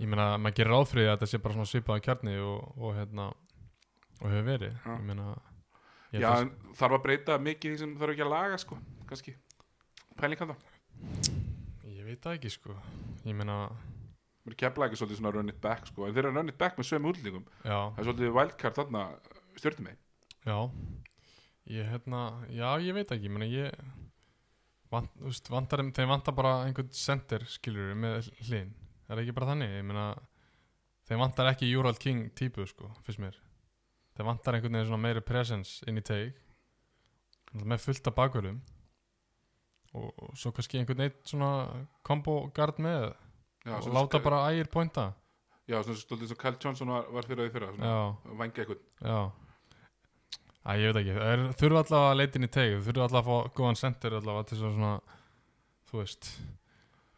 B: Ég meina, maður gerir ráðfrið að þetta sé bara svona svipaða kjarni og, og hérna og hefur verið
A: Já.
B: Ég meina ég
A: Já,
B: held að-
A: en þarf að breyta mikið því sem þarf ekki að laga sko, kannski pælingan það,
B: ég veit það ekki sko Ég meina,
A: mér kepla ekki svolítið svona run it back sko, en þeir eru run it back með sömu útlendingum
B: já,
A: það er svolítið wildcard þarna stjórnum með
B: já Ég hérna, já, ég veit ekki Ég meina, ég vant, þú veist, vantar, þeim vantar bara einhvern center skilur með hlinn Það er ekki bara þannig, ég meina þeim vantar ekki Júrald King típu sko, fyrst mér þeim vantar einhvern veginn svona meiri presence inn í teig með fullt af bakverðum og, og svo kannski einhvern eitt svona combo guard með
A: Já,
B: og
A: svona-
B: láta bara ægir pointa
A: Já, svona stóldið sem Kyle Johnson var, var fyrir því fyrir
B: já,
A: Vængi eitthvað
B: já Æ, ég veit ekki, þeir þurfa allavega að leita inn í teig þau þurfa allavega að fá góðan center allavega til þess að svona, þú veist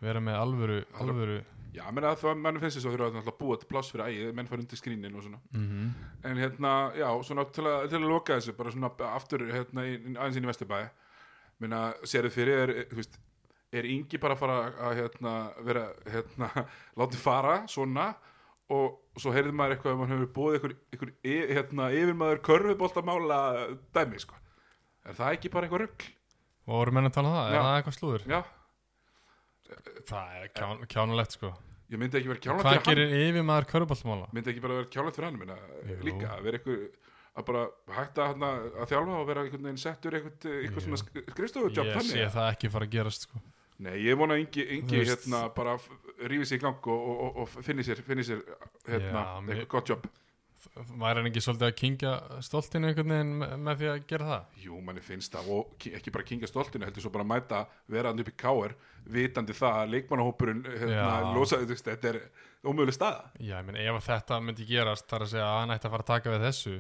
B: vera með alvöru, alvöru
A: Já, menn að það mannum finnst þess að þurfa náttúrulega að búa til pláss fyrir ægið, menn fara undir skrínin og svona
B: mm -hmm.
A: En hérna, já, svona til að, til að loka þessu, bara svona aftur hérna, í- aðeins inn í Vesturbæði Minna, sérðu fyrir er, þú veist, er Ingi bara að fara að hérna, vera, hérna, láti fara svona og svo heyrði maður eitthvað um að mann hefur búið ykkur, ykkur e, hérna, yfirmaður körfuboltamála dæmi, sko Er það ekki bara eitthvað rugl?
B: og voru menn að tala um það,
A: Já.
B: er það eitthvað slúður?
A: Já,
B: Það er kján, kjánulegt sko
A: ég myndi ekki vera kjánlega
B: Hvað gerir yfir maður körubáltmála?
A: myndi ekki bara vera kjálegt fyrir hann minna,
B: Jú.
A: líka, að vera eitthvað að bara hætta hann að, að þjálfa og vera einhvern veginn settur eitthvað, eitthvað
B: Jú.
A: svona sk- skrifstofutjobb
B: Ég sé
A: þannig
B: það ekki fara að gerast sko
A: Nei, ég vona að Ingi,
B: Þú
A: Ingi
B: veist-
A: hérna bara f- rífi sér í gang og, og, og, og finni sér, finni sér hérna,
B: Já, mér-
A: eitthvað gott jobb
B: Væri hann ekki svolítið að kingja stoltinu einhvern veginn með, með því að gera það?
A: Jú, manni finnst það og ki- ekki bara kingja stoltinu heldur svo bara mæta vera hann upp í káir vitandi það að leikmannahópurinn hérna,
B: Já.
A: losaði þú veist, þetta er ómöguleg staða
B: Já, ég meina ef að þetta myndi gerast þar að segja að hann ætti að fara að taka við þessu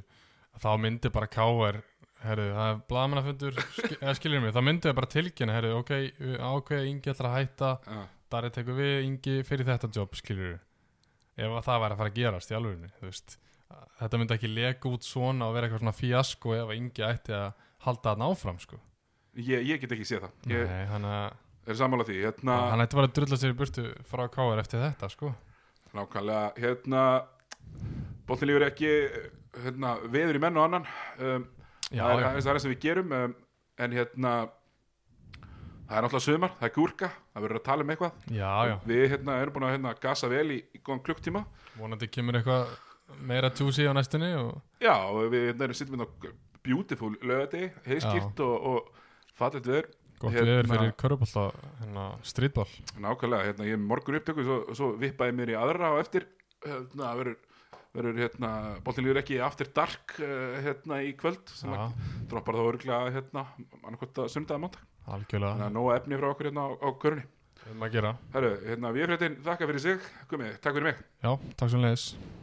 B: þá myndi bara káver herru, það er blaðmannafundur skil, eða skilur mig, þá myndi það bara tilkynna herru, ok, ákveða Ingi ætlar að hætta
A: Já.
B: Darri tekur við Ingi fyrir þetta jobb skilur ef að það væri að fara að gerast í alvöginni, þú veist þetta myndi ekki leka út svona og vera eitthvað svona fíasko ef að Ingi ætti að halda þarna áfram sko.
A: ég, ég get ekki séð það ég
B: Nei, hann að
A: er sammála því hérna,
B: hann ætti bara að drulla sér í burtu frá káver eftir þetta sko.
A: Nákvæmlega, hérna Bóttin lífur ekki hérna, veður í menn og annan um,
B: Já,
A: það, er,
B: já.
A: það er það sem við gerum um, en hérna það er náttúrulega sumar, það er gúrka það verður að tala um eitthvað
B: Já, já,
A: við hérna, erum búin að hérna, gasa vel í, í góðan klukktíma
B: vonandi kemur eitthvað meira tjúsi á næstunni og
A: já, og við hérna, erum sittum við á beautiful lögati, heiskýrt og, og fallit veður
B: gott
A: Hérna-
B: viður fyrir körubólta, hérna, strítból
A: Nákvæmlega, hérna, ég er með morgun upptöku svo, svo vippaði mér í aðra á eftir hérna, verður, verður hérna, boltin lífur ekki aftur dark uh, hérna í kvöld sem
B: Já.
A: að droppar þá örgulega hérna, annarkvæmt að sundaða mándag þannig
B: algjörlega,
A: að nóga efni frá okkur hérna á, á körunni
B: um að gera
A: Herru, hérna, við erum hérna, þakka fyrir sig komið, takk fyrir mig
B: Já, takk svo leiðis